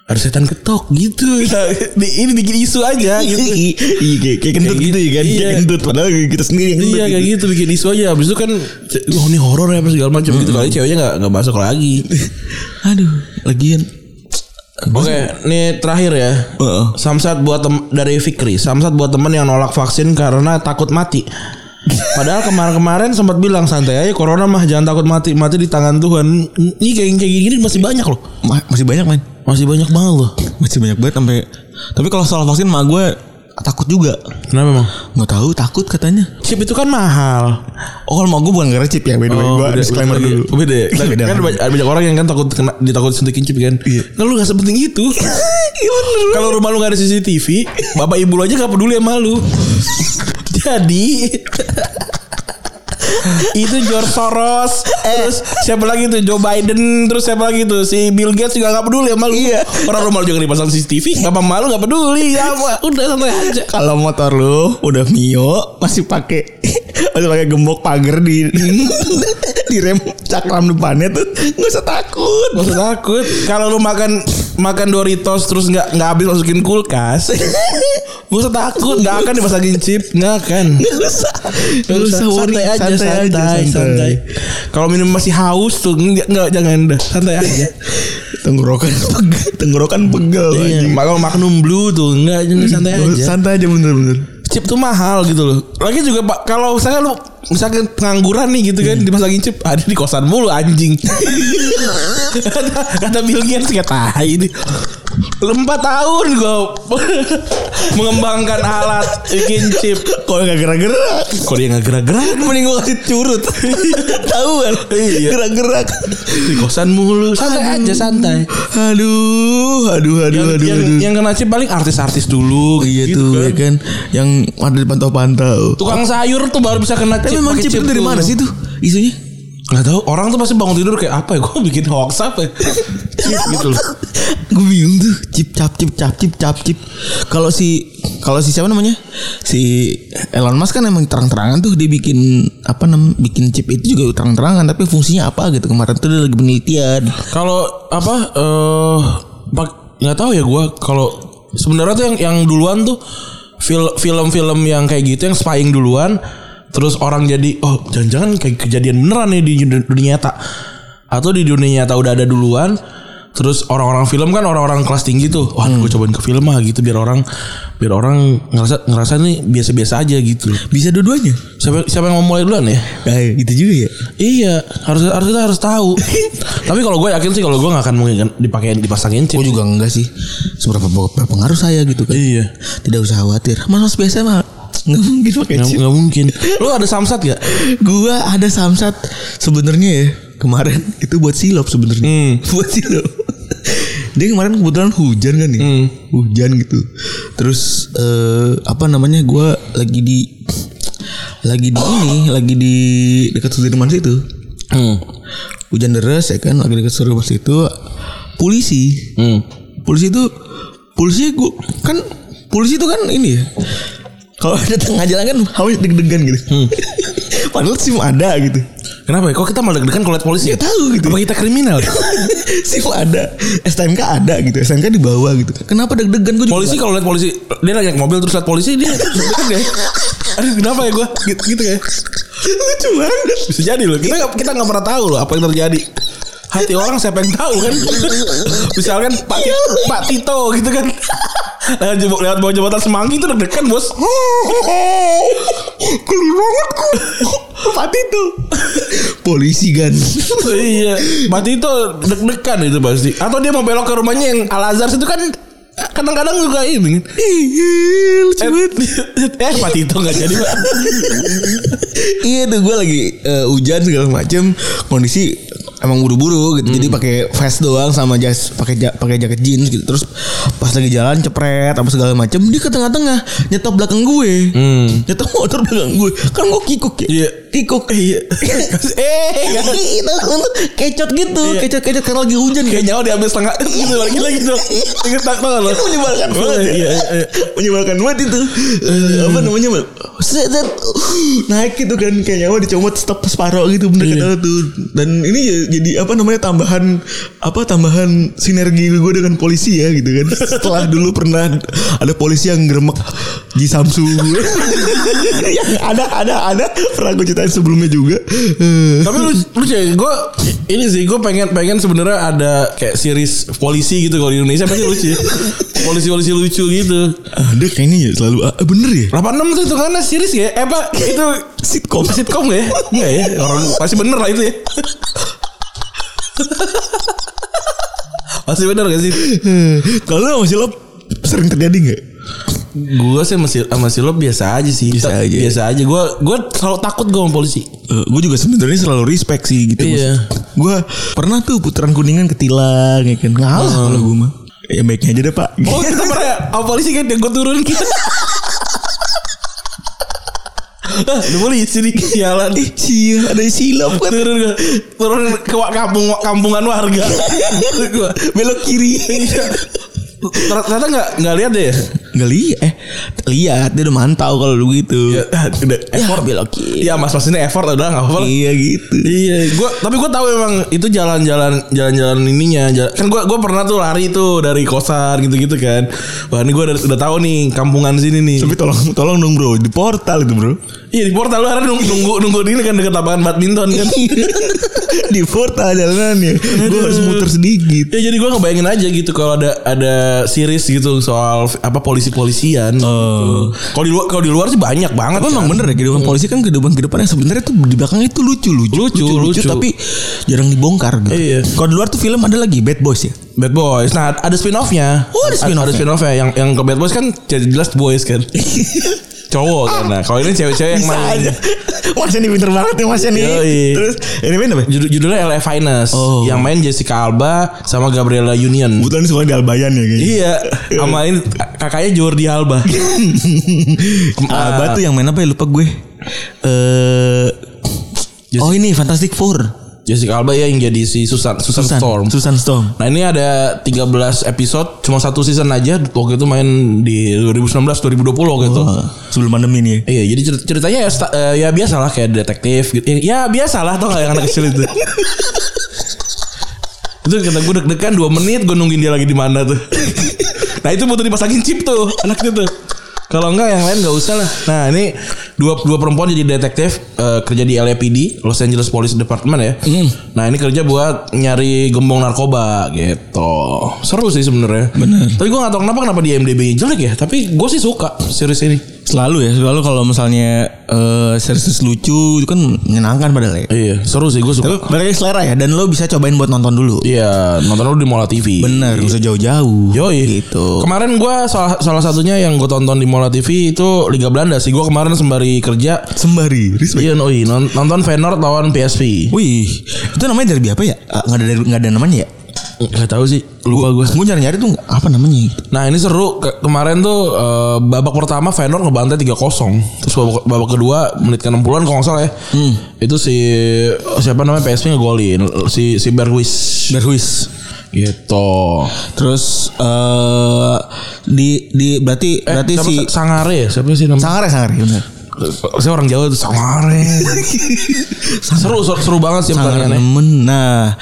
Speaker 3: ada setan ketok gitu Nah, di- ini bikin isu aja gitu
Speaker 2: Iya kayak- kayak kentut gitu ya kan.
Speaker 3: Iya.
Speaker 2: Kayak kentut padahal kita sendiri yang kentut.
Speaker 3: Iya kayak gitu bikin isu aja Abis itu kan Wah ini horor ya apa segala macam gitu Kali ceweknya gak, nggak masuk lagi
Speaker 2: Aduh, lagian.
Speaker 3: Oke ini terakhir ya
Speaker 2: Heeh.
Speaker 3: Samsat buat tem- dari Fikri Samsat buat temen yang nolak vaksin karena takut mati Padahal kemarin-kemarin sempat bilang santai aja corona mah jangan takut mati mati di tangan Tuhan. Ini kayak kayak gini masih banyak loh.
Speaker 2: Ma- masih banyak main.
Speaker 3: Masih banyak banget loh.
Speaker 2: Masih banyak banget sampai tapi kalau soal vaksin mah gue takut juga.
Speaker 3: Kenapa emang?
Speaker 2: Nggak tahu takut katanya.
Speaker 3: Chip itu kan mahal.
Speaker 2: Oh kalau mau gue bukan gara chip ya by the way.
Speaker 3: Oh,
Speaker 2: Gua
Speaker 3: beda-
Speaker 2: disclaimer
Speaker 3: beda-
Speaker 2: dulu.
Speaker 3: Beda. ya?
Speaker 2: Iya, beda.
Speaker 3: Kan banyak, banyak orang yang kan takut kena ditakut suntikin chip kan.
Speaker 2: Iya.
Speaker 3: Nah, lu gak sepenting itu. Kalau rumah lu gak ada CCTV, bapak ibu lu aja gak peduli sama lu. Jadi itu George Soros terus siapa lagi tuh Joe Biden terus siapa lagi tuh si Bill Gates juga gak peduli sama lu
Speaker 2: Iya.
Speaker 3: orang rumah lu juga dipasang CCTV bapak malu gak peduli sama udah santai aja
Speaker 2: Iya. Kalau motor lu udah Mio masih pakai masih pakai gembok pagar di di rem cakram depannya tuh nggak usah takut.
Speaker 3: Gak usah takut. Kalau lu makan makan Doritos terus nggak nggak habis masukin kulkas, gak usah takut. Nggak akan dipasangin chip, nggak akan.
Speaker 2: Nggak usah. Nggak usah worry.
Speaker 3: santai aja, santai, santai. Kalau minum masih haus tuh nggak nggak, jangan dah, santai aja.
Speaker 2: Tenggorokan pegel, tenggorokan pegel.
Speaker 3: Iya.
Speaker 2: anjing. Hmm.
Speaker 3: Kalau Magnum Blue tuh nggak jangan santai aja.
Speaker 2: Santai aja bener-bener.
Speaker 3: chip tuh mahal gitu loh. Lagi juga Pak, kalau misalnya lu misalkan pengangguran nih gitu kan
Speaker 2: Hmm.
Speaker 3: dipasangin chip ada di kosan mulu anjing. kata, kata Bill Gates kayak tai ini. Lu Empat tahun gue mengembangkan alat bikin chip.
Speaker 2: Kalau nggak gerak-gerak,
Speaker 3: Kok dia nggak gerak-gerak?
Speaker 2: mending gue kasih curut. Tahu kan?
Speaker 3: Iya.
Speaker 2: Gerak-gerak.
Speaker 3: Di kosan mulu. Santai aja santai.
Speaker 2: Aduh, aduh, aduh,
Speaker 3: Yang,
Speaker 2: aduh,
Speaker 3: yang,
Speaker 2: aduh.
Speaker 3: yang kena chip paling artis-artis dulu.
Speaker 2: iya
Speaker 3: gitu
Speaker 2: tuh, ya
Speaker 3: kan.
Speaker 2: kan? Yang ada di pantau-pantau.
Speaker 3: Tukang sayur tuh baru bisa kena
Speaker 2: Tapi Eh, memang
Speaker 3: pakai
Speaker 2: chip itu dari
Speaker 3: tuh.
Speaker 2: mana sih tuh isunya?
Speaker 3: Gak tau orang tuh pasti bangun tidur kayak apa ya Gue bikin hoax apa ya Chip gitu loh
Speaker 2: Gue bingung tuh Cip cap cip cap cip cap cip Kalau si Kalau si siapa namanya Si Elon Musk kan emang terang-terangan tuh Dia bikin Apa namanya Bikin chip itu juga terang-terangan Tapi fungsinya apa gitu Kemarin tuh dia lagi penelitian
Speaker 3: Kalau apa eh pak nggak tahu ya gue kalau sebenarnya tuh yang yang duluan tuh fil- film-film yang kayak gitu yang spying duluan terus orang jadi oh jangan-jangan kayak kejadian beneran nih di dunia- dunia nyata atau di dunia nyata udah ada duluan terus orang-orang film kan orang-orang kelas tinggi tuh wah gue cobain ke film ah gitu biar orang biar orang ngerasa ngerasa nih biasa-biasa aja gitu
Speaker 2: Bisa dua-duanya
Speaker 3: siapa siapa yang mau mulai duluan ya
Speaker 2: Nah gitu juga ya
Speaker 3: Iya, harus harus kita harus tahu. Tapi kalau gue yakin sih kalau gue nggak akan mungkin kan dipakein dipasangin chip.
Speaker 2: Gue juga enggak sih Seberapa pengaruh saya gitu kan
Speaker 3: Iya.
Speaker 2: Tidak usah khawatir Mas biasa mah Nggak mungkin pakai
Speaker 3: Nggak,
Speaker 2: chip
Speaker 3: nggak mungkin. Lu ada samsat gak?
Speaker 2: Gua ada samsat sebenarnya ya kemarin itu buat silop sebenarnya
Speaker 3: Hmm.
Speaker 2: buat silop dia kemarin kebetulan hujan kan nih hujan gitu terus eh, apa namanya gua lagi di lagi di ini lagi di dekat Sudirman situ Hmm. hujan deras ya kan lagi dekat Sudirman situ polisi polisi itu polisi gua kan polisi itu kan ini ya kalau ada tengah jalan kan hawa deg-degan gitu padahal sim ada gitu
Speaker 3: Kenapa ya? Kok kita malah deg-degan kalau lihat polisi?
Speaker 2: Nggak tahu gitu.
Speaker 3: Apa kita kriminal?
Speaker 2: sim ada STNK ada gitu STNK di bawah gitu kenapa deg-degan gue juga
Speaker 3: polisi kalau lihat polisi dia lagi naik mobil terus lihat polisi dia
Speaker 2: gitu.
Speaker 3: deg-degan ya. Aduh kenapa ya gue? Gitu, gitu ya.
Speaker 2: lucu banget
Speaker 3: Bisa jadi loh. Kita nggak- kita nggak pernah tahu loh apa yang terjadi. Hati orang siapa yang tahu kan? Misalkan Pak, Pak Tito gitu kan. Lewat, jembo- lewat bawah jembatan semanggi itu deg-degan bos.
Speaker 2: geli banget gue Pati tuh polisi kan
Speaker 3: iya. Mati itu deg-degan itu pasti. Atau dia mau belok ke rumahnya yang Al Azhar itu kan kadang-kadang juga ini. kan?
Speaker 2: Iya, lucu
Speaker 3: Eh,
Speaker 2: banget.
Speaker 3: eh mati itu nggak jadi Pak.
Speaker 2: Iya tuh gue lagi eh, hujan segala macem kondisi emang buru-buru gitu jadi pakai vest doang sama jas pakai ja- pakai jaket jeans gitu terus pas lagi jalan cepret apa segala macem dia ke tengah-tengah nyetop belakang gue nyetop motor belakang gue kan gue kikuk ya
Speaker 3: Iya.
Speaker 2: kikuk iya
Speaker 3: Eh, nggak-
Speaker 2: Gitu, kecot gitu
Speaker 3: Iya.
Speaker 2: kecot kecot karena lagi hujan
Speaker 3: kayak
Speaker 2: kan
Speaker 3: nyawa diambil setengah gitu lagi lagi tuh. Ingat tak tahu loh.
Speaker 2: menyebalkan
Speaker 3: Oh,
Speaker 2: banget
Speaker 3: iya, iya.
Speaker 2: menyebalkan banget itu Eh, apa namanya Bang? Set, set. naik gitu kan kayak nyawa dicomot stop separuh gitu bener kata lu tuh dan ini ya jadi apa namanya tambahan apa tambahan sinergi gue dengan polisi ya gitu kan setelah dulu pernah ada polisi yang geremek di Samsung yang Ya, ada ada ada pernah gue ceritain sebelumnya juga Eh,
Speaker 3: Tapi lu lu gue ini sih gue pengen pengen sebenarnya ada kayak series polisi gitu kalau di Indonesia pasti lucu. Polisi-polisi lucu gitu.
Speaker 2: ada kayaknya ya selalu ah, bener ya
Speaker 3: 86 tuh hitungannya series ya? Eh Pak, itu sitcom sitcom nggak ya? Enggak ya, orang pasti bener lah itu ya. pasti bener gak sih?
Speaker 2: Eh, kalau lu masih lo sering terjadi nggak
Speaker 3: Gue sih masih sama si lo biasa aja sih.
Speaker 2: Biasa aja.
Speaker 3: Biasa aja. Gue gue selalu takut gue sama polisi.
Speaker 2: gue Eh, juga sebenarnya selalu respect sih gitu.
Speaker 3: Iya.
Speaker 2: Gue pernah tuh putaran kuningan ketilang ya kan. Ngalah kalau gue mah. Ya baiknya aja deh pak.
Speaker 3: Oh kita pernah sama polisi kan yang gue turun kita.
Speaker 2: Iya.
Speaker 3: Ah, Lu polisi nih sialan.
Speaker 2: Ih, sial ada silap kan.
Speaker 3: Turun gua. turun ke wa- kampung kampungan warga. Gua-
Speaker 2: Belok kiri.
Speaker 3: Ternyata nggak nggak lihat deh. ya?
Speaker 2: Gak lihat eh lihat dia udah mantau kalau lu gitu.
Speaker 3: Ya, udah effort
Speaker 2: belok kiri.
Speaker 3: Iya mas mas ini effort udah nggak apa-apa. lah.
Speaker 2: Iya gitu.
Speaker 3: Iya, gua tapi gua tahu emang itu jalan-jalan jalan-jalan ininya. Jalan, kan gua gua pernah tuh lari tuh dari kosan gitu-gitu kan. Wah, ini gua udah, udah tahu nih kampungan sini nih.
Speaker 2: Tapi tolong tolong dong bro di portal itu bro.
Speaker 3: Iya, di portal lu hari nunggu nunggu, nunggu di ini kan deket lapangan badminton kan.
Speaker 2: di portal jalanannya. Gue harus muter sedikit.
Speaker 3: Ya jadi gua ngebayangin aja gitu kalau ada ada series gitu soal apa polisi polisi-polisian. Kalau di luar kalau di luar sih banyak banget.
Speaker 2: Tapi
Speaker 3: kan.
Speaker 2: Oh. emang bener ya kehidupan polisi kan kehidupan kehidupan yang sebenarnya tuh di belakang itu lucu lucu
Speaker 3: Lucu, lucu.
Speaker 2: tapi jarang dibongkar gitu.
Speaker 3: Iya.
Speaker 2: Kalau di luar tuh film ada lagi Bad Boys ya.
Speaker 3: Bad Boys. Nah, ada spin-off-nya.
Speaker 2: Oh, ada spin-off-nya.
Speaker 3: Ada spin-off-nya yang yang ke Bad Boys kan jadi jelas boys kan. Cowok kan. Nah, kalau ini cewek-cewek yang
Speaker 2: Bisa
Speaker 3: main.
Speaker 2: aja. Masnya nih pinter banget nih masnya nih.
Speaker 3: Yoi.
Speaker 2: Terus ini main apa?
Speaker 3: Judul judulnya LA Finest
Speaker 2: Oh.
Speaker 3: yang main Jessica Alba sama Gabriela Union.
Speaker 2: Kebetulan ini semua di Albayan ya kayaknya.
Speaker 3: Iya, sama ini kakaknya Jordi Alba.
Speaker 2: Alba tuh Ah, yang main apa ya lupa gue. Eh Oh ini Fantastic Four.
Speaker 3: Jessica Alba ya yang jadi si Susan Susan,
Speaker 2: Susan
Speaker 3: Storm.
Speaker 2: Susan Storm.
Speaker 3: Nah ini ada 13 episode Cuma satu season aja Waktu itu main di 2019-2020 gitu
Speaker 2: Eh, sebelum pandemi nih.
Speaker 3: Iya jadi cer- ceritanya ya, sta- eh, ya biasa lah Kayak detektif gitu Ya ya biasa lah tau gak yang anak kecil itu Itu kata gue deg-degan 2 menit Gue nungguin dia lagi di mana tuh Nah itu butuh dipasangin chip tuh Anaknya tuh kalau enggak yang lain nggak usah lah. Nah ini dua dua perempuan jadi detektif eh, kerja di LAPD Los Angeles Police Department ya. Nah ini kerja buat nyari gembong narkoba gitu. Seru sih sebenarnya. Bener. Tapi gue nggak tahu kenapa kenapa di IMDb jelek ya. Tapi gue sih suka series ini.
Speaker 2: Selalu ya, selalu kalau misalnya eh series lucu itu kan menyenangkan padahal ya.
Speaker 3: Iya seru sih gue
Speaker 2: Tapi
Speaker 3: suka.
Speaker 2: balik lagi selera ya dan lo bisa cobain buat nonton dulu.
Speaker 3: Iya nonton dulu di Mola TV.
Speaker 2: Bener, gak usah jauh-jauh.
Speaker 3: Yoi.
Speaker 2: Gitu.
Speaker 3: Kemarin gua salah, salah satunya yang gue tonton di Mola TV itu Liga Belanda sih. Gue kemarin sembari kerja.
Speaker 2: Sembari. Respect.
Speaker 3: Iya, oh iya, non- nonton Feyenoord lawan PSV.
Speaker 2: Wih, itu namanya derby apa ya? Ah, Nggak ada nggak ada namanya ya?
Speaker 3: Gak tahu sih, lupa gue.
Speaker 2: Gue nyari-nyari tuh nggak- apa namanya? gitu.
Speaker 3: Nah ini seru Ke- kemarin tuh eh, babak pertama Feyenoord ngebantai 3-0 Terus babak, babak kedua menit ke 60-an kalau nggak salah ya
Speaker 2: Hmm.
Speaker 3: Itu si siapa namanya PSV ngegolin Si, si Berwis
Speaker 2: Berhuis.
Speaker 3: Gitu
Speaker 2: Terus eh di di berarti
Speaker 3: eh,
Speaker 2: berarti
Speaker 3: siapa,
Speaker 2: si
Speaker 3: Sangare ya siapa sih namanya?
Speaker 2: Sangare Sangare benar.
Speaker 3: Saya orang Jawa tuh Sangare Seru seru, seru banget sih
Speaker 2: Sangare
Speaker 3: pertandingannya
Speaker 2: nemen. Nah,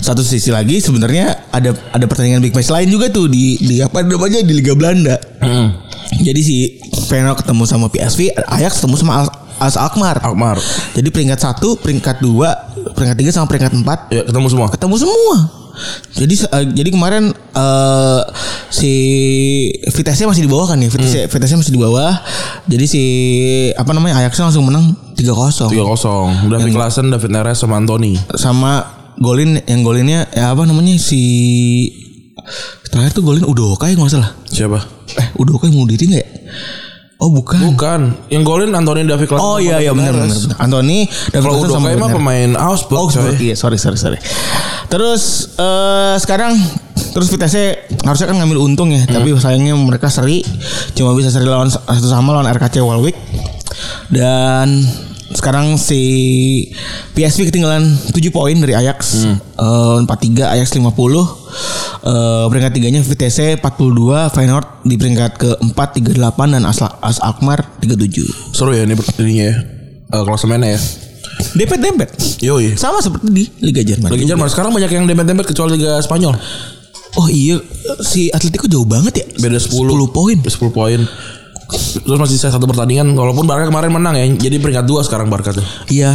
Speaker 2: satu sisi lagi sebenarnya ada ada pertandingan big match lain juga tuh di di apa namanya di Liga Belanda. Hmm. Jadi si Feyenoord ketemu sama PSV, Ajax ketemu sama Al- AS Alkmaar.
Speaker 3: Akmar
Speaker 2: Jadi peringkat satu, peringkat dua, peringkat tiga sama peringkat empat
Speaker 3: Ya ketemu semua
Speaker 2: ketemu semua. Jadi eh, jadi kemarin eh, si Vitesse masih di bawah kan ya? Vitesse, Vitesse masih di bawah. Jadi si apa namanya Ajax langsung menang 3-0
Speaker 3: 3-0
Speaker 2: Iya.
Speaker 3: David Klassen, David Neres sama Anthony
Speaker 2: sama golin yang golinnya ya apa namanya si terakhir tuh golin Udoka ya nggak salah.
Speaker 3: Siapa?
Speaker 2: Eh Udoka yang bunuh diri nggak? ya? Oh bukan.
Speaker 3: Bukan Yang golin Anthony David Klassen
Speaker 2: Oh iya iya benar benar. benar. Anthony David
Speaker 3: Kalau
Speaker 2: Klassen
Speaker 3: udah
Speaker 2: sama
Speaker 3: kayak mah
Speaker 2: Werner.
Speaker 3: pemain Augsburg,
Speaker 2: Augsburg.
Speaker 3: coy.
Speaker 2: Iya, sorry, sorry, sorry. Terus eh sekarang terus Vitesse harusnya kan ngambil untung ya, tapi sayangnya mereka seri, cuma bisa seri lawan satu sama lawan RKC Walwick. Dan sekarang si PSV ketinggalan 7 poin dari Ajax. Eh, 43 Ajax 50. Eh peringkat tiganya Vitesse 42, Feyenoord di peringkat keempat 38 dan As, As Alkmaar 37.
Speaker 3: Seru ya ini pertandingannya ya. Eh, klasemennya ya.
Speaker 2: Dempet-dempet.
Speaker 3: Yoi.
Speaker 2: Sama seperti di Liga Jerman.
Speaker 3: Lagi Jerman sekarang banyak yang dempet-dempet kecuali Liga Spanyol.
Speaker 2: Oh iya si Atletico jauh banget ya.
Speaker 3: Beda 10.
Speaker 2: 10 poin.
Speaker 3: 10 poin. Terus masih sisa satu pertandingan walaupun Barca kemarin menang ya. Jadi peringkat 2 sekarang Barca tuh.
Speaker 2: Iya.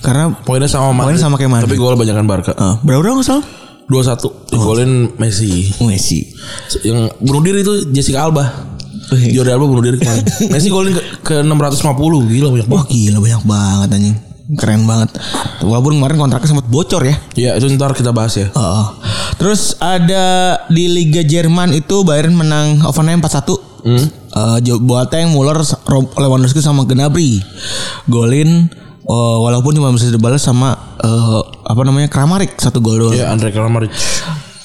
Speaker 2: Karena
Speaker 3: Poinnya sama Madrid.
Speaker 2: Poinnya sama kayak Madrid.
Speaker 3: Tapi gol banyakkan Barca.
Speaker 2: eh, berapa orang salah?
Speaker 3: 2-1 digolin Messi.
Speaker 2: Oh, Messi.
Speaker 3: Yang bunuh diri itu Jessica Alba.
Speaker 2: Wih.
Speaker 3: Jordi Alba bunuh diri kemarin. Messi golin ke, ke 650 gila banyak banget.
Speaker 2: Wah gila banyak banget anjing. Keren banget. Walaupun kemarin kontraknya sempat bocor ya.
Speaker 3: Ya itu ntar kita bahas ya.
Speaker 2: Heeh. Terus ada di Liga Jerman itu Bayern menang Hoffenheim 4-1. Hmm. Boateng, Muller, Rob- Lewandowski sama Gnabry. Golin eh, walaupun cuma bisa dibalas sama eh, apa namanya Kramarik satu gol doang.
Speaker 3: Ya Andre Kramaric.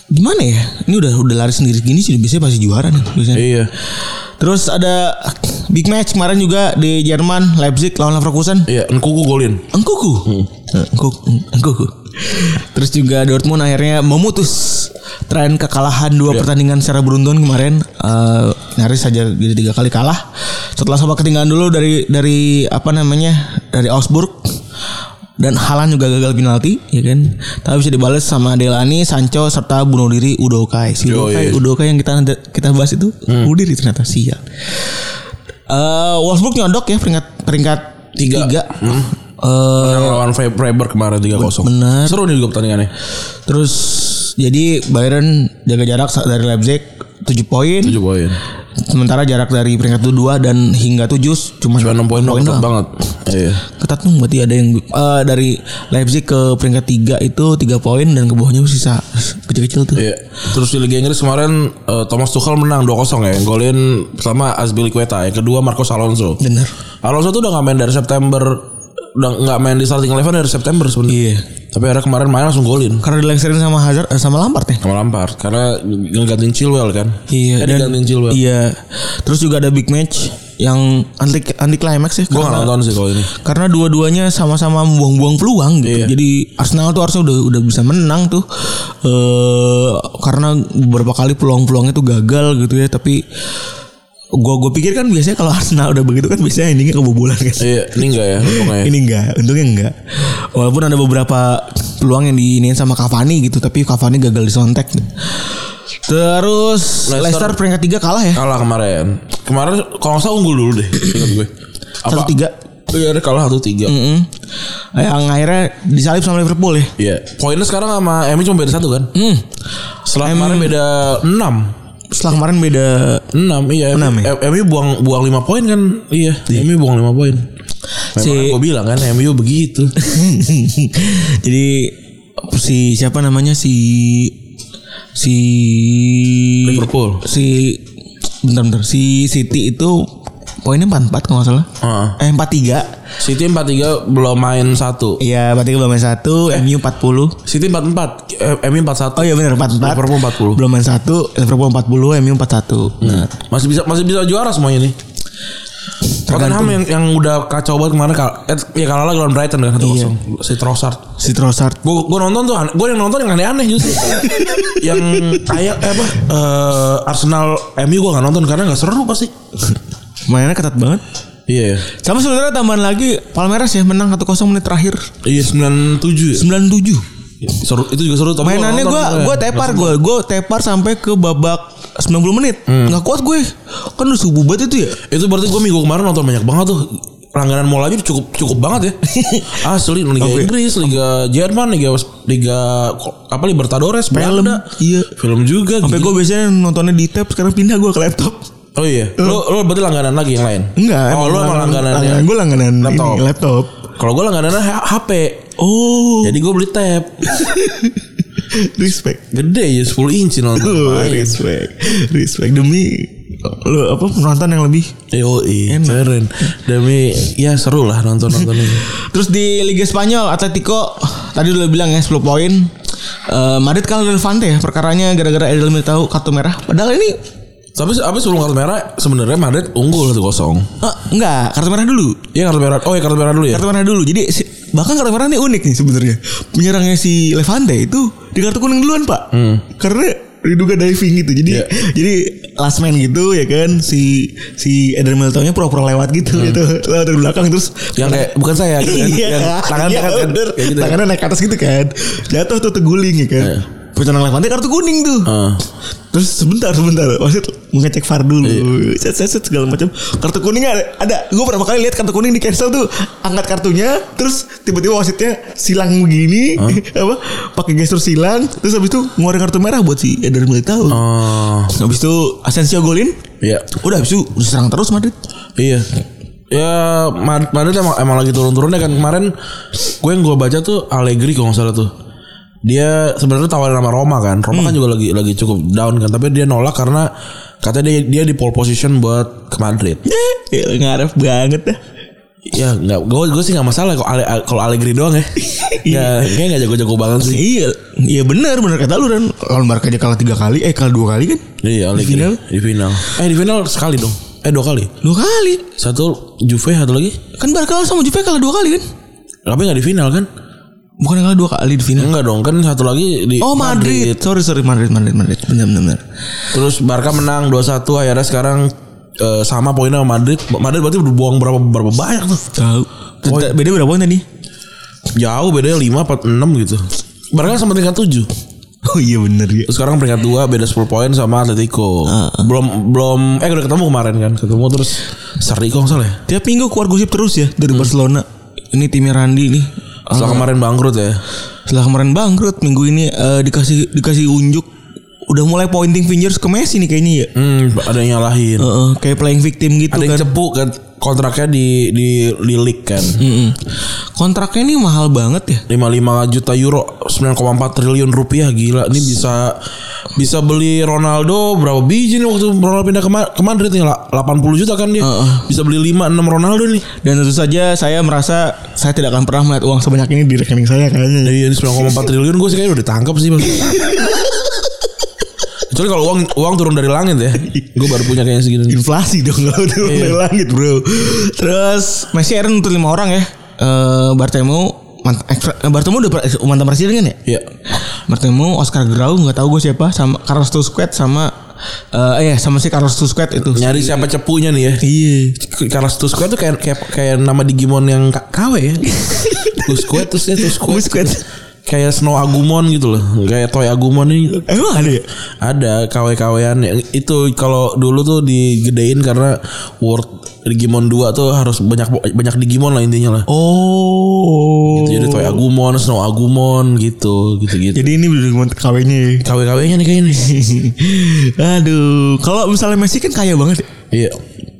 Speaker 2: gimana ya ini udah udah lari sendiri gini sih biasanya pasti juara nih biasanya
Speaker 3: Iya.
Speaker 2: terus ada big match kemarin juga di Jerman Leipzig lawan Leverkusen
Speaker 3: Iya, Nkuku golin.
Speaker 2: Engkuku Engkuku Engkuku terus juga Dortmund akhirnya memutus tren kekalahan dua pertandingan secara beruntun kemarin Eh, nyaris saja jadi tiga kali kalah setelah sama ketinggalan dulu dari dari apa namanya dari Augsburg dan Halan juga gagal penalti ya kan tapi bisa dibalas sama Delani Sancho serta bunuh diri Udokai si
Speaker 3: Yo,
Speaker 2: Udokai,
Speaker 3: iya.
Speaker 2: Udokai yang kita kita bahas itu bunuh diri ternyata sial Eh Wolfsburg nyodok ya peringkat peringkat tiga, Eh,
Speaker 3: Menang lawan Fre- Freiburg kemarin 3-0.
Speaker 2: Bener.
Speaker 3: Seru nih juga pertandingannya.
Speaker 2: terus jadi Bayern jaga jarak dari Leipzig 7 poin
Speaker 3: 7 poin.
Speaker 2: Sementara jarak dari peringkat kedua dan hingga tujuh cuma
Speaker 3: 96 poin doang, ketat
Speaker 2: doang.
Speaker 3: banget. Iya.
Speaker 2: Ketat tuh berarti ada yang eh, dari Leipzig ke peringkat tiga itu tiga poin dan ke bawahnya sisa kecil-kecil tuh.
Speaker 3: Iya. Terus di Liga Inggris kemarin eh, Thomas Tuchel menang 2-0 ya. Yang golin pertama Azpilicueta, yang kedua Marcos Alonso.
Speaker 2: Bener.
Speaker 3: Alonso tuh udah nggak main dari September udah nggak main di starting eleven dari September sebenarnya.
Speaker 2: Iya.
Speaker 3: Tapi akhirnya kemarin main langsung golin
Speaker 2: Karena dilengserin sama Hazard eh, sama Lampard ya.
Speaker 3: sama Lampard karena ngegantiin Chilwell kan.
Speaker 2: Iya.
Speaker 3: Eh, digantiin Chilwell.
Speaker 2: Iya. Terus juga ada big match yang anti anti climax ya.
Speaker 3: Gue
Speaker 2: karena-
Speaker 3: nggak nonton sih kalau ini.
Speaker 2: karena dua-duanya sama-sama membuang-buang peluang gitu.
Speaker 3: Iya.
Speaker 2: Jadi Arsenal tuh harusnya udah udah bisa menang tuh. Eh karena beberapa kali peluang-peluangnya tuh gagal gitu ya, tapi gua gua pikir kan biasanya kalau Arsenal udah begitu kan biasanya endingnya kebobolan kan.
Speaker 3: Iya, ini enggak ya untungnya.
Speaker 2: Ini enggak, untungnya enggak. Walaupun ada beberapa peluang yang diinin sama Cavani gitu, tapi Cavani gagal disontek. Terus
Speaker 3: Leicester-
Speaker 2: Leicester peringkat tiga kalah ya.
Speaker 3: Kalah kemarin. Kemarin kalau nggak salah unggul dulu deh. Ingat gue. Apa?
Speaker 2: 1-3.
Speaker 3: Iya, dia kalah 1-3.
Speaker 2: Mm-mm. Eh, Yang akhirnya disalip sama Liverpool ya.
Speaker 3: Iya. Poinnya sekarang sama MU cuma beda satu kan?
Speaker 2: Hmm.
Speaker 3: Setelah kemarin beda 6.
Speaker 2: Setelah kemarin beda
Speaker 3: 6 iya.
Speaker 2: Enam ya?
Speaker 3: M- MU buang buang 5 poin kan? Iya. MU buang 5 poin. Memang
Speaker 2: Si-
Speaker 3: kan gue bilang kan MU begitu.
Speaker 2: Jadi si siapa namanya si si
Speaker 3: Liverpool.
Speaker 2: si bentar-bentar si City itu poinnya 44 kalau nggak salah. Eh
Speaker 3: Heeh.
Speaker 2: 43.
Speaker 3: City 4-3 belum main 1.
Speaker 2: Iya, 43 belum main 1, MU 40.
Speaker 3: City 4-4, eh, MU 41.
Speaker 2: Oh iya benar 44.
Speaker 3: Liverpool 40.
Speaker 2: Belum main 1, Liverpool 40, MU 41. Nah,
Speaker 3: Masih bisa masih bisa juara semuanya nih. Tottenham yang yang udah kacau banget kemarin kal eh, ya kalah lagi lawan Brighton kan 1-0.
Speaker 2: Iya.
Speaker 3: Si Trossard.
Speaker 2: si Trossard
Speaker 3: Gue gue nonton tuh, gue yang nonton yang aneh-aneh justru. yang kayak eh, apa? eh, Arsenal MU gue nggak nonton karena nggak seru pasti.
Speaker 2: mainnya ketat banget.
Speaker 3: Iya.
Speaker 2: Sama sebenarnya tambahan lagi Palmeiras ya menang 1-0 menit terakhir
Speaker 3: Iya 97 ya.
Speaker 2: 97.
Speaker 3: Seru itu juga seru tapi
Speaker 2: mainannya gue
Speaker 3: nggak nonton Hmm.
Speaker 2: gue tepar gue gue tepar sampai ke babak 90 menit nggak kuat gue kan udah subuh banget itu ya
Speaker 3: Itu berarti gue minggu kemarin nonton banyak banget tuh. Langganan mall aja cukup cukup banget ya. Asli Liga Inggris, Liga Jerman, Liga Liga apa Libertadores, Belanda.
Speaker 2: iya
Speaker 3: Film juga
Speaker 2: sampai
Speaker 3: gitu.
Speaker 2: gue biasanya nontonnya di tab sekarang pindah gue ke laptop
Speaker 3: Oh iya. Lo lo berarti langganan lagi yang lain.
Speaker 2: Eh. enggak
Speaker 3: Oh, lo emang langganan.
Speaker 2: langganan gue langganan
Speaker 3: Laptop.
Speaker 2: ini, laptop
Speaker 3: Kalau gue langganannya H- HP.
Speaker 2: oh
Speaker 3: Jadi gue beli tab.
Speaker 2: respect
Speaker 3: Gede ya 10 inci nonton.
Speaker 2: Tuh, respect respect demi lo apa penonton yang lebih
Speaker 3: Yo,
Speaker 2: iya.
Speaker 3: keren. Demi ya seru lah nonton-nonton ini.
Speaker 2: Terus di Liga Spanyol Atletico tadi udah bilang ya 10 poin. Eh, Madrid kalah dari Levante ya perkaranya gara-gara Edel Militao kartu merah. Padahal ini
Speaker 3: Tapi tapi sebelum kartu merah sebenarnya Madrid unggul tuh kosong.
Speaker 2: eh, enggak kartu merah dulu.
Speaker 3: Iya kartu merah. Oh ya kartu merah dulu ya.
Speaker 2: Kartu merah dulu. Jadi si- bahkan kartu merah ini unik nih sebenarnya. Penyerangnya si Levante itu di kartu kuning duluan, Pak. Karena diduga diving gitu. Jadi
Speaker 3: Iya.
Speaker 2: jadi last man gitu ya kan si si Eder Militao-nya pura-pura lewat gitu gitu. Lewat dari belakang terus
Speaker 3: Yang kayak bukan saya gitu kan.
Speaker 2: Iya,
Speaker 3: yang tangan
Speaker 2: iya,
Speaker 3: tangan
Speaker 2: bener.
Speaker 3: kayak gitu.
Speaker 2: Tangannya naik ke atas gitu kan. Jatuh tuh teguling ya kan.
Speaker 3: Iya. Ah.
Speaker 2: Penyerang Levante kartu kuning tuh.
Speaker 3: Heeh.
Speaker 2: Terus sebentar sebentar wasit mengecek VAR dulu.
Speaker 3: Iya.
Speaker 2: Set set set segala macam. Kartu kuningnya ada. ada. Gue pertama kali lihat kartu kuning di cancel tuh angkat kartunya terus tiba-tiba wasitnya silang begini
Speaker 3: Ah.
Speaker 2: apa pakai gestur silang terus habis itu ngeluarin kartu merah buat si Eder Militao.
Speaker 3: Oh,
Speaker 2: Habis itu Asensio golin.
Speaker 3: iya.
Speaker 2: Udah habis itu diserang terus Madrid.
Speaker 3: Iya. Ya Mad- Madrid emang, emang lagi turun-turunnya kan kemarin gue yang gue baca tuh Allegri kalau nggak salah tuh. Dia sebenarnya tawarin sama Roma kan. Roma
Speaker 2: Hmm.
Speaker 3: kan juga lagi lagi cukup down kan, tapi dia nolak karena katanya dia dia di pole position buat ke Madrid.
Speaker 2: Ya, ngarep banget dah.
Speaker 3: Ya nggak, gue gue sih nggak masalah kalau Ale, kalau Allegri doang ya. ya kayak nggak jago-jago banget sih.
Speaker 2: Iya, iya benar benar kata lu dan lawan Barca aja
Speaker 3: kan,
Speaker 2: kalah tiga kali, eh kalah dua kali kan?
Speaker 3: Iya Allegri.
Speaker 2: final?
Speaker 3: Di final. Eh di final sekali dong. Eh dua kali.
Speaker 2: Dua kali,
Speaker 3: Satu Juve satu lagi.
Speaker 2: kan Barca sama Juve kalah dua kali kan?
Speaker 3: Tapi nggak di final kan?
Speaker 2: Bukan kalah dua kali di final?
Speaker 3: Enggak dong kan satu lagi di
Speaker 2: Oh Madrid. sorry sorry Madrid Madrid Madrid, benar benar. benar.
Speaker 3: Terus Barca menang 2-1 akhirnya sekarang eh, sama poinnya sama Madrid. Madrid berarti udah buang berapa berapa banyak tuh?
Speaker 2: Tahu. Tenta- Beda berapa poin tadi?
Speaker 3: Jauh bedanya 5 4 6 gitu. Barca sama peringkat 7.
Speaker 2: Oh iya Ah, benar ya.
Speaker 3: Terus sekarang peringkat 2 beda 10 poin sama Atletico. Belum belum eh udah ketemu kemarin kan. Ketemu terus seri kok nggak salah ya.
Speaker 2: Tiap minggu keluar gosip terus ya dari Barcelona. Ini timnya Randi nih. Ah.
Speaker 3: Setelah kemarin bangkrut ya.
Speaker 2: Setelah kemarin bangkrut, minggu ini eh, dikasih dikasih unjuk
Speaker 5: udah mulai pointing fingers ke Messi nih kayaknya ya.
Speaker 3: Hmm, ada yang
Speaker 2: Eh,
Speaker 3: nyalahin.
Speaker 5: Heeh, kayak playing victim gitu
Speaker 3: ada yang
Speaker 5: kan.
Speaker 3: cepu kan kontraknya di di lilik kan.
Speaker 5: Mm-mm. Kontraknya nih mahal banget ya.
Speaker 3: 55 juta euro 9,4 triliun rupiah gila ini bisa bisa beli Ronaldo berapa biji nih waktu Ronaldo pindah ke, Ma- ke Madrid nih La- 80 juta kan dia bisa beli 5 6 Ronaldo nih
Speaker 5: Dan tentu saja saya merasa saya tidak akan pernah melihat uang sebanyak ini di rekening saya kayaknya.
Speaker 3: Iya, ini 9,4 triliun gue sih kayaknya udah ditangkap sih maksudnya. Kecuali kalau uang uang turun dari langit ya. Gue baru punya kayaknya segini.
Speaker 5: Inflasi dong kalau udah dari langit bro. Terus Iya. Messi Aaron untuk lima orang ya. Eh Bartemu mant- ex- eh, Bartemu udah pre- mantan presiden kan ya?
Speaker 3: Iya.
Speaker 5: Bartemu Oscar Grau nggak tahu gue siapa sama Carlos Tusquets sama eh ya sama si Carlos Tusquets itu.
Speaker 3: Nyari siapa cepunya nih ya.
Speaker 5: Iya.
Speaker 3: Karas Tusquets tuh kayak kayak kayak nama Digimon yang K- KW ya. Tusquets terus ya Tusquets.
Speaker 5: Tusquets.
Speaker 3: Kayak Snow Agumon gitu loh. Kayak Toy Agumon nih.
Speaker 5: Emang ada ya?
Speaker 3: Ada KW-KWan yang- itu kalau dulu tuh digedein karena World Digimon 2 tuh harus banyak banyak Digimon lah intinya lah.
Speaker 5: Oh.
Speaker 3: Gitu, jadi Toy Agumon, Snow Agumon gitu, gitu-gitu.
Speaker 5: Jadi ini udah KW-nya ya.
Speaker 3: KW-KW-nya nih kayaknya nih.
Speaker 5: Aduh, kalau misalnya Messi kan kaya banget. ya.
Speaker 3: Iya.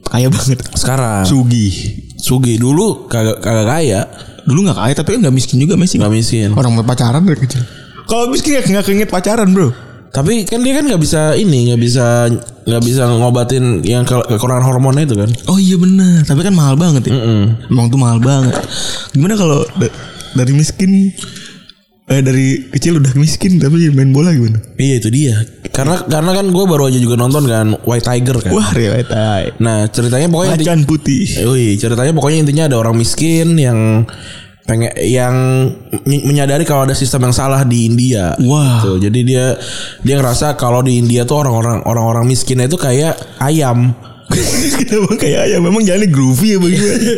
Speaker 5: Kaya banget.
Speaker 3: Sekarang
Speaker 5: Sugi.
Speaker 3: Sugi dulu kagak kagak kaya,
Speaker 5: Dulu nggak kaya tapi kan nggak miskin juga Messi.
Speaker 3: nggak miskin.
Speaker 5: Orang mau pacaran dari kecil. Kalau miskin ya nggak keinget pacaran bro.
Speaker 3: Tapi kan dia kan nggak bisa ini, nggak bisa nggak bisa ngobatin yang ke- kekurangan hormonnya itu kan.
Speaker 5: Oh iya benar, tapi kan mahal banget ya. Emang tuh mahal banget. Gimana kalau da- dari miskin eh dari kecil udah miskin tapi main bola gimana?
Speaker 3: Iya itu dia. Karena karena kan gue baru aja juga nonton kan White Tiger kan.
Speaker 5: Wah, realita.
Speaker 3: Nah ceritanya pokoknya inti-
Speaker 5: Macan putih.
Speaker 3: Yoi, ceritanya pokoknya intinya ada orang miskin yang pengen yang ny- menyadari kalau ada sistem yang salah di India.
Speaker 5: Wah.
Speaker 3: Gitu. Jadi dia dia ngerasa kalau di India tuh orang-orang orang-orang miskinnya itu kayak ayam.
Speaker 5: Kenapa kayak ayam? Memang jalannya groovy ya bagaimana?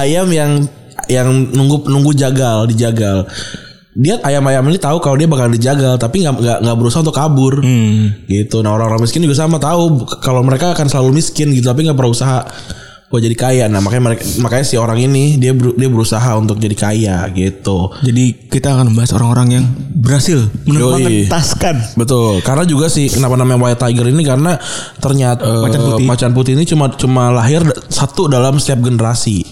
Speaker 3: ayam yang yang nunggu nunggu jagal dijagal dia ayam-ayam ini tahu kalau dia bakal dijagal tapi nggak nggak nggak berusaha untuk kabur
Speaker 2: Hmm.
Speaker 3: gitu nah orang-orang miskin juga sama tahu kalau mereka akan selalu miskin gitu tapi nggak pernah usaha buat jadi kaya nah makanya mereka, makanya si orang ini dia ber- dia berusaha untuk jadi kaya gitu
Speaker 5: Jadi kita akan membahas orang-orang yang berhasil
Speaker 3: Yoi.
Speaker 5: menemukan taskan.
Speaker 3: Betul, karena juga sih kenapa namanya White Tiger ini karena ternyata eh,
Speaker 5: Macan
Speaker 3: macan
Speaker 5: putih.
Speaker 3: putih, ini cuma cuma lahir da- satu dalam setiap generasi.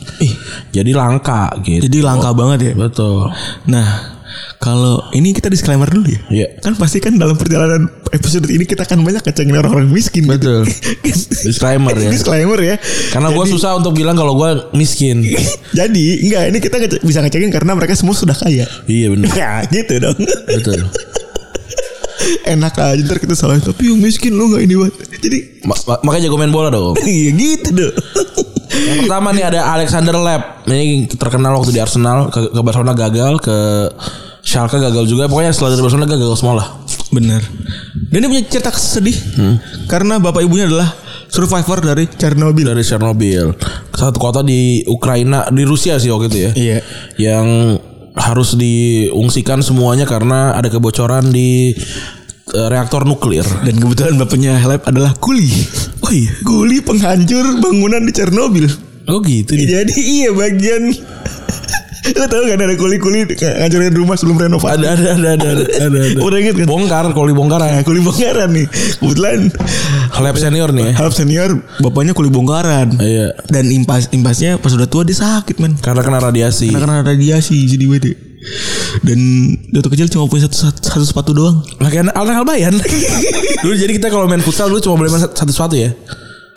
Speaker 3: Jadi langka gitu.
Speaker 5: Jadi langka banget ya.
Speaker 3: Betul.
Speaker 5: Nah, kalau ini kita disclaimer dulu ya.
Speaker 3: Iya.
Speaker 5: Kan pasti kan dalam perjalanan episode ini kita akan banyak ngecengin orang-orang miskin.
Speaker 3: Betul. Disclaimer ya. Kan-
Speaker 5: Disclaimer ya.
Speaker 3: Karena gue susah untuk bilang kalau gue miskin.
Speaker 5: Jadi enggak ini kita ngece- bisa ngecengin karena mereka semua sudah kaya.
Speaker 3: iya benar.
Speaker 5: Ya gitu dong.
Speaker 3: Betul.
Speaker 5: Enak aja ntar kita salah tapi yang miskin lu nggak ini buat. Jadi
Speaker 3: Ma- ma- makanya jago main bola dong.
Speaker 5: ya gitu dong.
Speaker 3: Yang pertama nih ada Alexander Lab. Ini terkenal waktu di Arsenal ke, ke Barcelona gagal ke Schalke gagal juga. Pokoknya setelah dari Barcelona gagal semua lah.
Speaker 5: Bener. Dan dia punya cerita sedih karena bapak ibunya adalah survivor dari Chernobyl.
Speaker 3: Dari Chernobyl. Satu kota di Ukraina, di Rusia sih waktu itu ya.
Speaker 5: Iya.
Speaker 3: Yang harus diungsikan semuanya karena ada kebocoran di eh, reaktor nuklir.
Speaker 5: Dan kebetulan bapaknya Helep adalah kuli. Oh iya. Kuli penghancur bangunan di Chernobyl.
Speaker 3: Oh gitu dia.
Speaker 5: Jadi iya bagian Lo tau kan ada kuli-kuli ngancurin rumah sebelum renovasi.
Speaker 3: Ada ada ada ada ada ada. ada.
Speaker 5: Udah inget kan?
Speaker 3: Bongkar kuli bongkaran.
Speaker 5: Nah, kuli bongkaran nih. Kebetulan
Speaker 3: Lab senior nih. ya.
Speaker 5: Helep senior bapaknya kuli bongkaran.
Speaker 3: Iya.
Speaker 5: Dan impas impasnya pas udah tua dia sakit men.
Speaker 3: Karena kena radiasi.
Speaker 5: Nah, Karena karena radiasi jadi bete. Dan waktu kecil cuma punya satu, satu, satu sepatu doang.
Speaker 3: Lah kan Alna Albayan. dulu jadi kita kalau main futsal dulu cuma boleh main satu sepatu ya.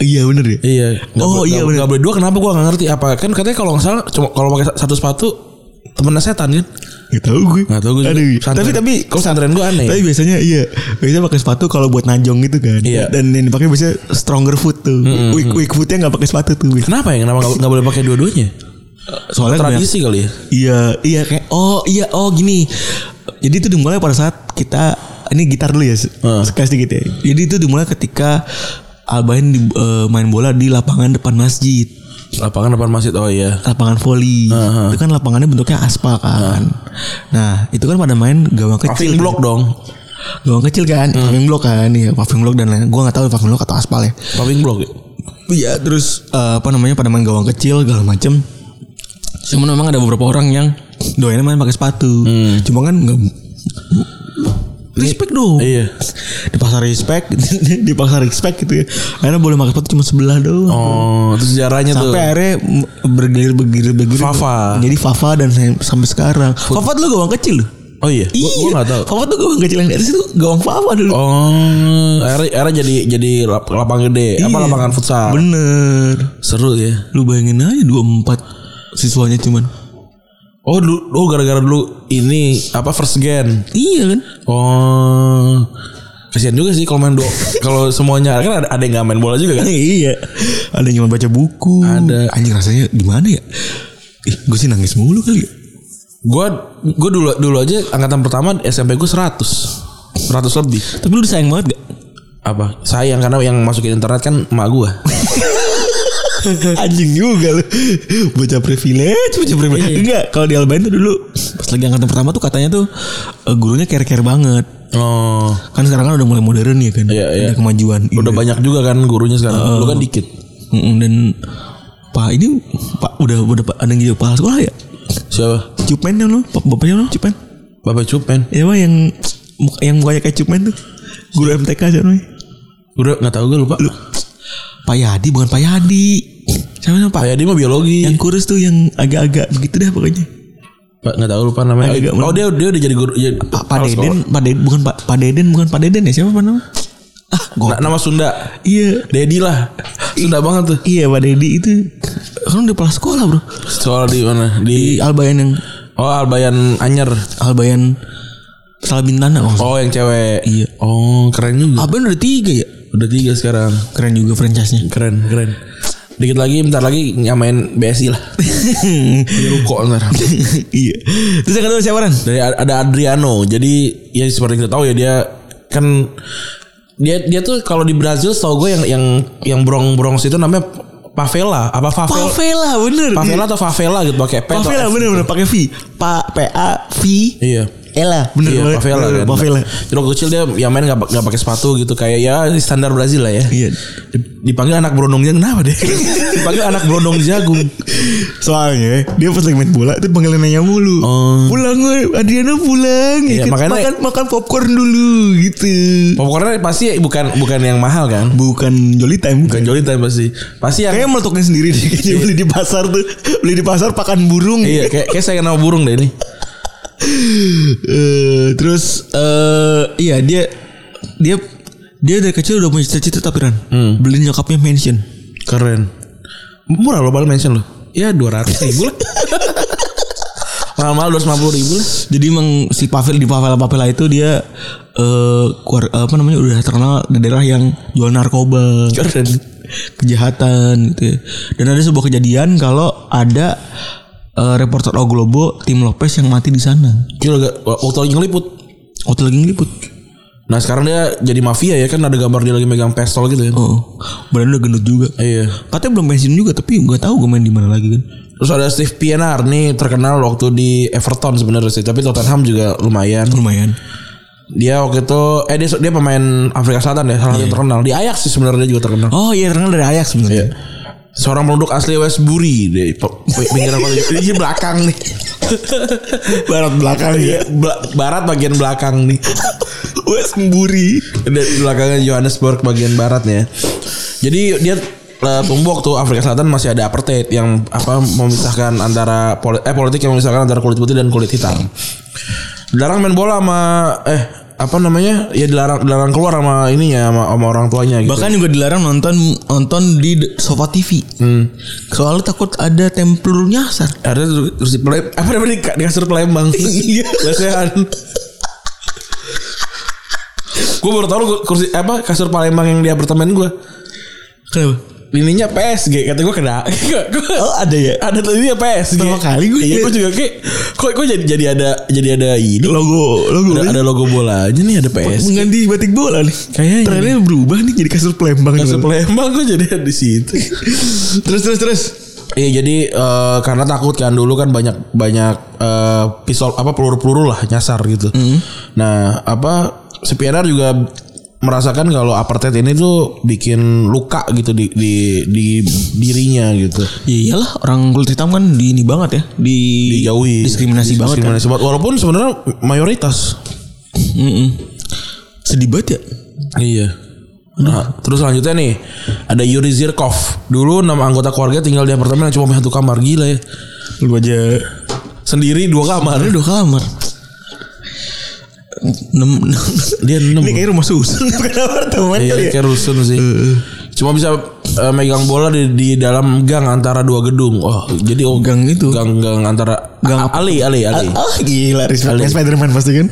Speaker 5: Iya bener ya.
Speaker 3: Iya.
Speaker 5: Oh, iya, bener.
Speaker 3: Enggak boleh dua kenapa gua nggak ngerti apa kan katanya kalau nggak salah cuma kalau pakai satu sepatu temennya setan kan.
Speaker 5: Gak tau gue.
Speaker 3: Nggak tahu gue. juga.
Speaker 5: Aduh,
Speaker 3: Pesantren-
Speaker 5: tapi tapi
Speaker 3: kok pesantren gua aneh.
Speaker 5: tapi biasanya iya biasanya pakai sepatu kalau buat najong gitu kan.
Speaker 3: Iya.
Speaker 5: Dan yang dipakai biasanya stronger foot tuh. Weak weak footnya nggak pakai sepatu tuh.
Speaker 3: Kenapa ya? Kenapa nggak nggak boleh pakai dua-duanya?
Speaker 5: Soalnya banyak-
Speaker 3: Tradisi kali ya.
Speaker 5: Iya, iya kayak oh iya oh gini. Jadi itu dimulai pada saat kita ini gitar dulu ya se-
Speaker 3: Heeh.
Speaker 5: sekali sedikit ya. Jadi itu dimulai ketika Albain di- eh, main bola di lapangan depan masjid,
Speaker 3: Lapangan depan masjid. Oh iya.
Speaker 5: lapangan voli. Itu kan lapangannya bentuknya aspal kan. Nah, itu kan pada main gawang
Speaker 3: Paving
Speaker 5: kecil.
Speaker 3: block dong.
Speaker 5: Gawang kecil kan, paving block kan ya, paving block dan lain. Gua nggak tahu paving block atau aspal ya.
Speaker 3: Paving block. ya?
Speaker 5: Iya terus eh, apa namanya pada main gawang kecil segala macem Cuman Hmm. memang ada beberapa orang yang doainnya main pakai sepatu. Cuma kan nggak
Speaker 2: Respect dong.
Speaker 3: Iya.
Speaker 2: Di pasar respect, di pasar respect gitu ya. Akhirnya boleh pakai sepatu cuma sebelah doang.
Speaker 3: Oh, terus sejarahnya tuh.
Speaker 2: Sampai akhirnya bergilir bergilir bergilir.
Speaker 3: Fafa.
Speaker 2: Jadi Fafa dan saya- sampai sekarang. Fafa dulu gawang kecil.
Speaker 3: Oh iya. Gua, gua
Speaker 2: Iya.
Speaker 3: gak tahu.
Speaker 2: Fafa tuh gawang kecil yang di atas itu gawang Fafa dulu.
Speaker 3: Oh, era era jadi jadi lap- lapangan gede, apa
Speaker 2: Iya.
Speaker 3: lapangan futsal.
Speaker 2: Bener.
Speaker 3: Seru ya.
Speaker 2: Lu bayangin aja 24 siswanya cuman.
Speaker 3: Oh, dulu, oh gara-gara dulu ini apa first gen.
Speaker 2: Iya kan?
Speaker 3: Oh. Kasihan juga sih kalau main do kalau semuanya kan ada, ada yang gak main bola juga kan.
Speaker 2: iya. Ada yang cuma baca
Speaker 5: Ah,
Speaker 2: buku.
Speaker 3: Ada.
Speaker 2: Anjing rasanya gimana ya? Ih, gue sih nangis mulu kali ya.
Speaker 3: Gua gua dulu dulu aja angkatan pertama SMP gua 100. 100 lebih.
Speaker 2: Tapi lu disayang banget gak?
Speaker 3: Apa? Sayang karena yang masukin internet kan emak gua.
Speaker 2: Anjing juga lu Bocah privilege Bocah privilege Enggak Kalau di Albain tuh dulu Pas lagi angkatan pertama tuh katanya tuh eh, Gurunya care-care banget
Speaker 3: Oh.
Speaker 2: Kan sekarang kan udah mulai modern ya kan
Speaker 3: Iya, iya.
Speaker 2: Ada kemajuan Iya. Oh.
Speaker 3: Udah banyak juga kan gurunya sekarang. Lu kan dikit.
Speaker 2: Mm-mm, Dan Pak ini Pak udah udah Pak ada yang jadi kepala sekolah ya
Speaker 3: Siapa?
Speaker 2: Cupen yang lo Pak bapaknya lo Cupen
Speaker 3: Bapak Cupen.
Speaker 2: Ya pak yang muka- Yang mukanya kayak Cupen tuh Guru MTK aja namanya
Speaker 3: Udah nggak tahu gue lupa.
Speaker 2: Pak Yadi bukan Pak Yadi Siapa namanya Pak
Speaker 3: Pak Yadi mah biologi.
Speaker 2: Yang kurus tuh yang agak-agak begitu dah pokoknya
Speaker 3: Pak nggak tahu lupa namanya.
Speaker 2: Agak
Speaker 3: oh dia dia udah jadi guru. jadi
Speaker 2: Pak Pak
Speaker 3: kepala
Speaker 2: Deden,
Speaker 3: sekolah.
Speaker 2: Pak Deden bukan Pak Pak Deden bukan Pak Deden ya siapa Pak nama? Ah, gua.
Speaker 3: Na- nama Sunda.
Speaker 2: iya.
Speaker 3: Dedi lah. Sunda banget tuh.
Speaker 2: Iya Pak Dedi itu kan udah kepala sekolah bro
Speaker 3: Sekolah di mana? Di
Speaker 2: di Albayan yang
Speaker 3: Oh Albayan Anyer.
Speaker 2: Albayan salah bintana oh.
Speaker 3: Oh yang cewek.
Speaker 2: Iya.
Speaker 3: Oh keren juga.
Speaker 2: Albayan udah tiga ya
Speaker 3: Udah tiga sekarang.
Speaker 2: keren juga franchise nya
Speaker 3: Keren keren. Dikit lagi bentar lagi nyamain BSI lah. Di ruko ntar.
Speaker 2: iya terus yang kedua siapa Ran
Speaker 3: Dari ada Adriano. Jadi ya seperti kita tahu ya dia kan dia dia tuh kalau di Brazil setahu gue yang yang yang brong-brongs itu namanya favela apa favela
Speaker 2: Pavela bener
Speaker 3: Favela atau favela gitu pakai P atau
Speaker 2: Pavela
Speaker 3: F.
Speaker 2: bener bener pakai V Pak P A V
Speaker 3: Iya.
Speaker 2: Ella bener
Speaker 3: iya,
Speaker 2: banget.
Speaker 3: favela.
Speaker 2: Bener,
Speaker 3: kan.
Speaker 2: Pavela
Speaker 3: Jadi waktu kecil dia yang main gak, gak pakai sepatu gitu kayak ya standar Brazil lah ya.
Speaker 2: Iya.
Speaker 3: Dip- Dipanggil anak berondong jagung kenapa deh? Dipanggil anak berondong jagung.
Speaker 2: Soalnya dia pas lagi main bola itu panggilin nanya mulu.
Speaker 3: Oh.
Speaker 2: Pulang gue, Adriana pulang.
Speaker 3: Iya,
Speaker 2: ikut
Speaker 3: makanya-
Speaker 2: makan makan popcorn dulu gitu.
Speaker 3: Pokoknya pasti bukan bukan yang mahal kan?
Speaker 2: Bukan jolly time bukan.
Speaker 3: Bukan Jolly Time pasti. Pasti yang
Speaker 2: Kayaknya meletukin sendiri deh kayaknya beli di pasar tuh. Beli di pasar pakan burung.
Speaker 3: iya kayak, kayak saya kenal burung deh ini.
Speaker 2: Eh, terus eh iya dia dia dia dari kecil udah punya cita-cita tapi Ran beli nyokapnya mansion.
Speaker 3: Keren. Murah loh bal mention loh. Ya 200 ribu lah. Mahal-mahal 250 ribu lah.
Speaker 2: Jadi emang si Pavel di Pavel Pavel itu dia eh keluar, apa namanya udah terkenal di daerah yang jual narkoba.
Speaker 3: Keren.
Speaker 2: kejahatan gitu ya. Dan ada sebuah kejadian kalau ada eh, reporter O Globo Tim Lopez yang mati di sana.
Speaker 3: Gila gak? Waktu lagi ngeliput.
Speaker 2: Waktu lagi ngeliput.
Speaker 3: Nah sekarang dia jadi mafia ya kan ada gambar dia lagi megang pistol gitu ya.
Speaker 2: Oh, badan udah gendut juga.
Speaker 3: Iya.
Speaker 2: Katanya belum pensiun juga tapi gak tahu gue main di mana lagi kan.
Speaker 3: Terus ada Steve Pienaar nih terkenal waktu di Everton sebenarnya sih, tapi Tottenham juga lumayan.
Speaker 2: Lumayan.
Speaker 3: Dia waktu itu eh dia, dia pemain Afrika Selatan ya, salah satu terkenal. Di Ajax sih sebenarnya dia juga terkenal.
Speaker 2: Oh iya terkenal dari Ajax sebenarnya.
Speaker 3: Seorang penduduk asli Westbury di pe- pe- pinggiran kota. Jadi Dia belakang nih.
Speaker 2: Barat belakang
Speaker 3: Iya, bela- barat bagian belakang nih.
Speaker 2: Wes Mburi.
Speaker 3: Dari belakangnya Johannesburg bagian baratnya. Jadi dia eh, tumbuh waktu Afrika Selatan masih ada apartheid yang apa memisahkan antara poli- eh politik yang memisahkan antara kulit putih dan kulit hitam. Dilarang main bola sama eh apa namanya? Ya dilarang dilarang keluar sama ininya sama, sama orang tuanya gitu.
Speaker 2: Bahkan juga dilarang nonton nonton di de- Sofa TV. Soalnya takut ada tempelur nyasar.
Speaker 3: ada terus terus di play, apa namanya di, di kasur Palembang. Iya. Lesehan. gue baru tau lu kursi apa kasur Palembang yang di apartemen gue
Speaker 2: Kenapa?
Speaker 3: ininya PSG kata gue kena
Speaker 2: Oh ada ya.
Speaker 3: ada tuh ini PSG
Speaker 2: Pertama kali ya? gue
Speaker 3: iya
Speaker 2: liat.
Speaker 3: gue juga kayak kok kok jadi jadi ada jadi ada ini
Speaker 2: Logo logo.
Speaker 3: ada, ada logo bola aja nih ada PSG
Speaker 2: mengganti batik bola nih.
Speaker 3: Kayaknya.
Speaker 2: Trennya ya berubah nih jadi kasur Palembang.
Speaker 3: Kasur Palembang gue jadi ada di situ
Speaker 2: Terus terus terus.
Speaker 3: Iya jadi eh, karena takut kan dulu kan banyak banyak eh, pisau apa peluru-peluru lah nyasar gitu.
Speaker 2: Hmm.
Speaker 3: Nah apa si PNR juga merasakan kalau apartheid ini tuh bikin luka gitu di di, di dirinya gitu.
Speaker 2: Ya iyalah orang kulit hitam kan di ini banget ya, di
Speaker 3: Dijauhi.
Speaker 2: diskriminasi banget kan.
Speaker 3: Diskriminasi banget. Walaupun sebenarnya mayoritas.
Speaker 2: Mm-mm. Sedih banget ya.
Speaker 3: Iya. Nah, terus selanjutnya nih ada Yuri Zirkov. Dulu enam anggota keluarga tinggal di apartemen yang cuma punya satu kamar gila ya.
Speaker 2: Lu aja
Speaker 3: Sendiri dua kamar.
Speaker 2: ada dua kamar. Nem, nem.
Speaker 3: Dia enam.
Speaker 2: Ini kayak rumah susun bukan apartemen
Speaker 3: Iya,
Speaker 2: kali ya.
Speaker 3: kayak rusun sih. Cuma bisa eh, megang bola di, di dalam gang antara dua gedung. Oh, jadi oh,
Speaker 2: Gang itu.
Speaker 3: gang-gang antara
Speaker 2: Gang
Speaker 3: A- Ali, Ali, Ali.
Speaker 2: Oh gila respect Kayak Spiderman pasti kan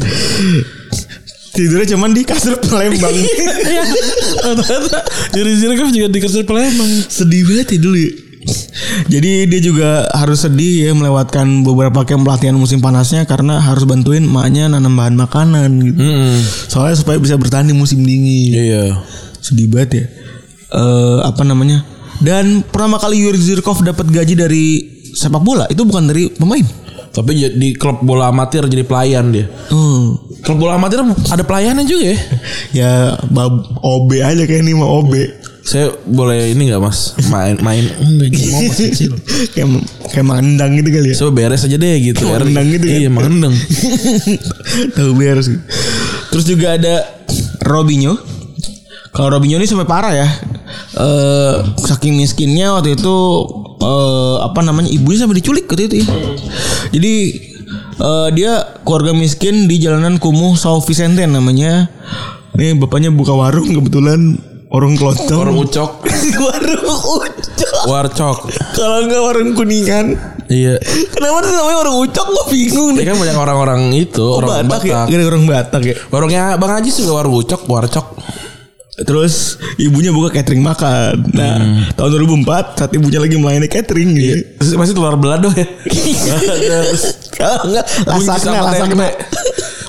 Speaker 2: Tidurnya cuman di kasur Palembang
Speaker 3: Ternyata Yuri Zirkov juga di Kesel Palembang.
Speaker 2: Sedih banget ya dulu ya. Jadi dia juga harus sedih ya melewatkan beberapa camp pelatihan musim panasnya karena harus bantuin maknya nanam bahan makanan gitu. Soalnya supaya bisa bertahan di musim dingin.
Speaker 3: Iya.
Speaker 2: Sedih banget ya. Eh, apa namanya? Dan pertama kali Yuri Zirkov dapat gaji dari sepak bola itu bukan dari pemain.
Speaker 3: Tapi j- di klub bola amatir jadi pelayan dia.
Speaker 2: Hmm.
Speaker 3: Klub bola amatir ada pelayannya juga ya.
Speaker 2: Ya bab OB aja kayak ini mah OB.
Speaker 3: Saya boleh ini nggak mas main main enggak mau mas kecil.
Speaker 2: kayak kayak mandang gitu kali ya.
Speaker 3: Coba beres aja deh gitu.
Speaker 2: Kayak menendang gitu kan?
Speaker 3: Iya menendang.
Speaker 2: Tahu biar
Speaker 3: gitu.
Speaker 2: sih. Terus juga ada Robinho. Kalau Robinho ini sampai parah ya. Eh saking miskinnya waktu itu eh apa namanya ibunya sampai diculik waktu itu ya. Jadi eh dia keluarga miskin di jalanan kumuh São Vicente namanya. Ini bapaknya buka warung kebetulan warung kelontong.
Speaker 3: Orang ucok,
Speaker 2: warung ucok.
Speaker 3: warcok.
Speaker 2: Kalau nggak warung kuningan.
Speaker 3: Iya.
Speaker 2: Kenapa tuh namanya warung ucok? Gue bingung
Speaker 3: Ya
Speaker 2: deh.
Speaker 3: kan banyak orang-orang itu
Speaker 2: Batak
Speaker 3: orang Batak.
Speaker 2: ya? Gara-gara orang Batak ya.
Speaker 3: Warungnya Bang Haji juga warung ucok, warcok.
Speaker 2: Terus ibunya buka catering makan. Nah,
Speaker 3: Hmm.
Speaker 2: tahun 2004 saat ibunya lagi melayani catering gitu.
Speaker 3: Terus Masih telur belado ya.
Speaker 2: Kalau enggak lasakna
Speaker 3: Sama
Speaker 2: lasakna.
Speaker 3: tempe.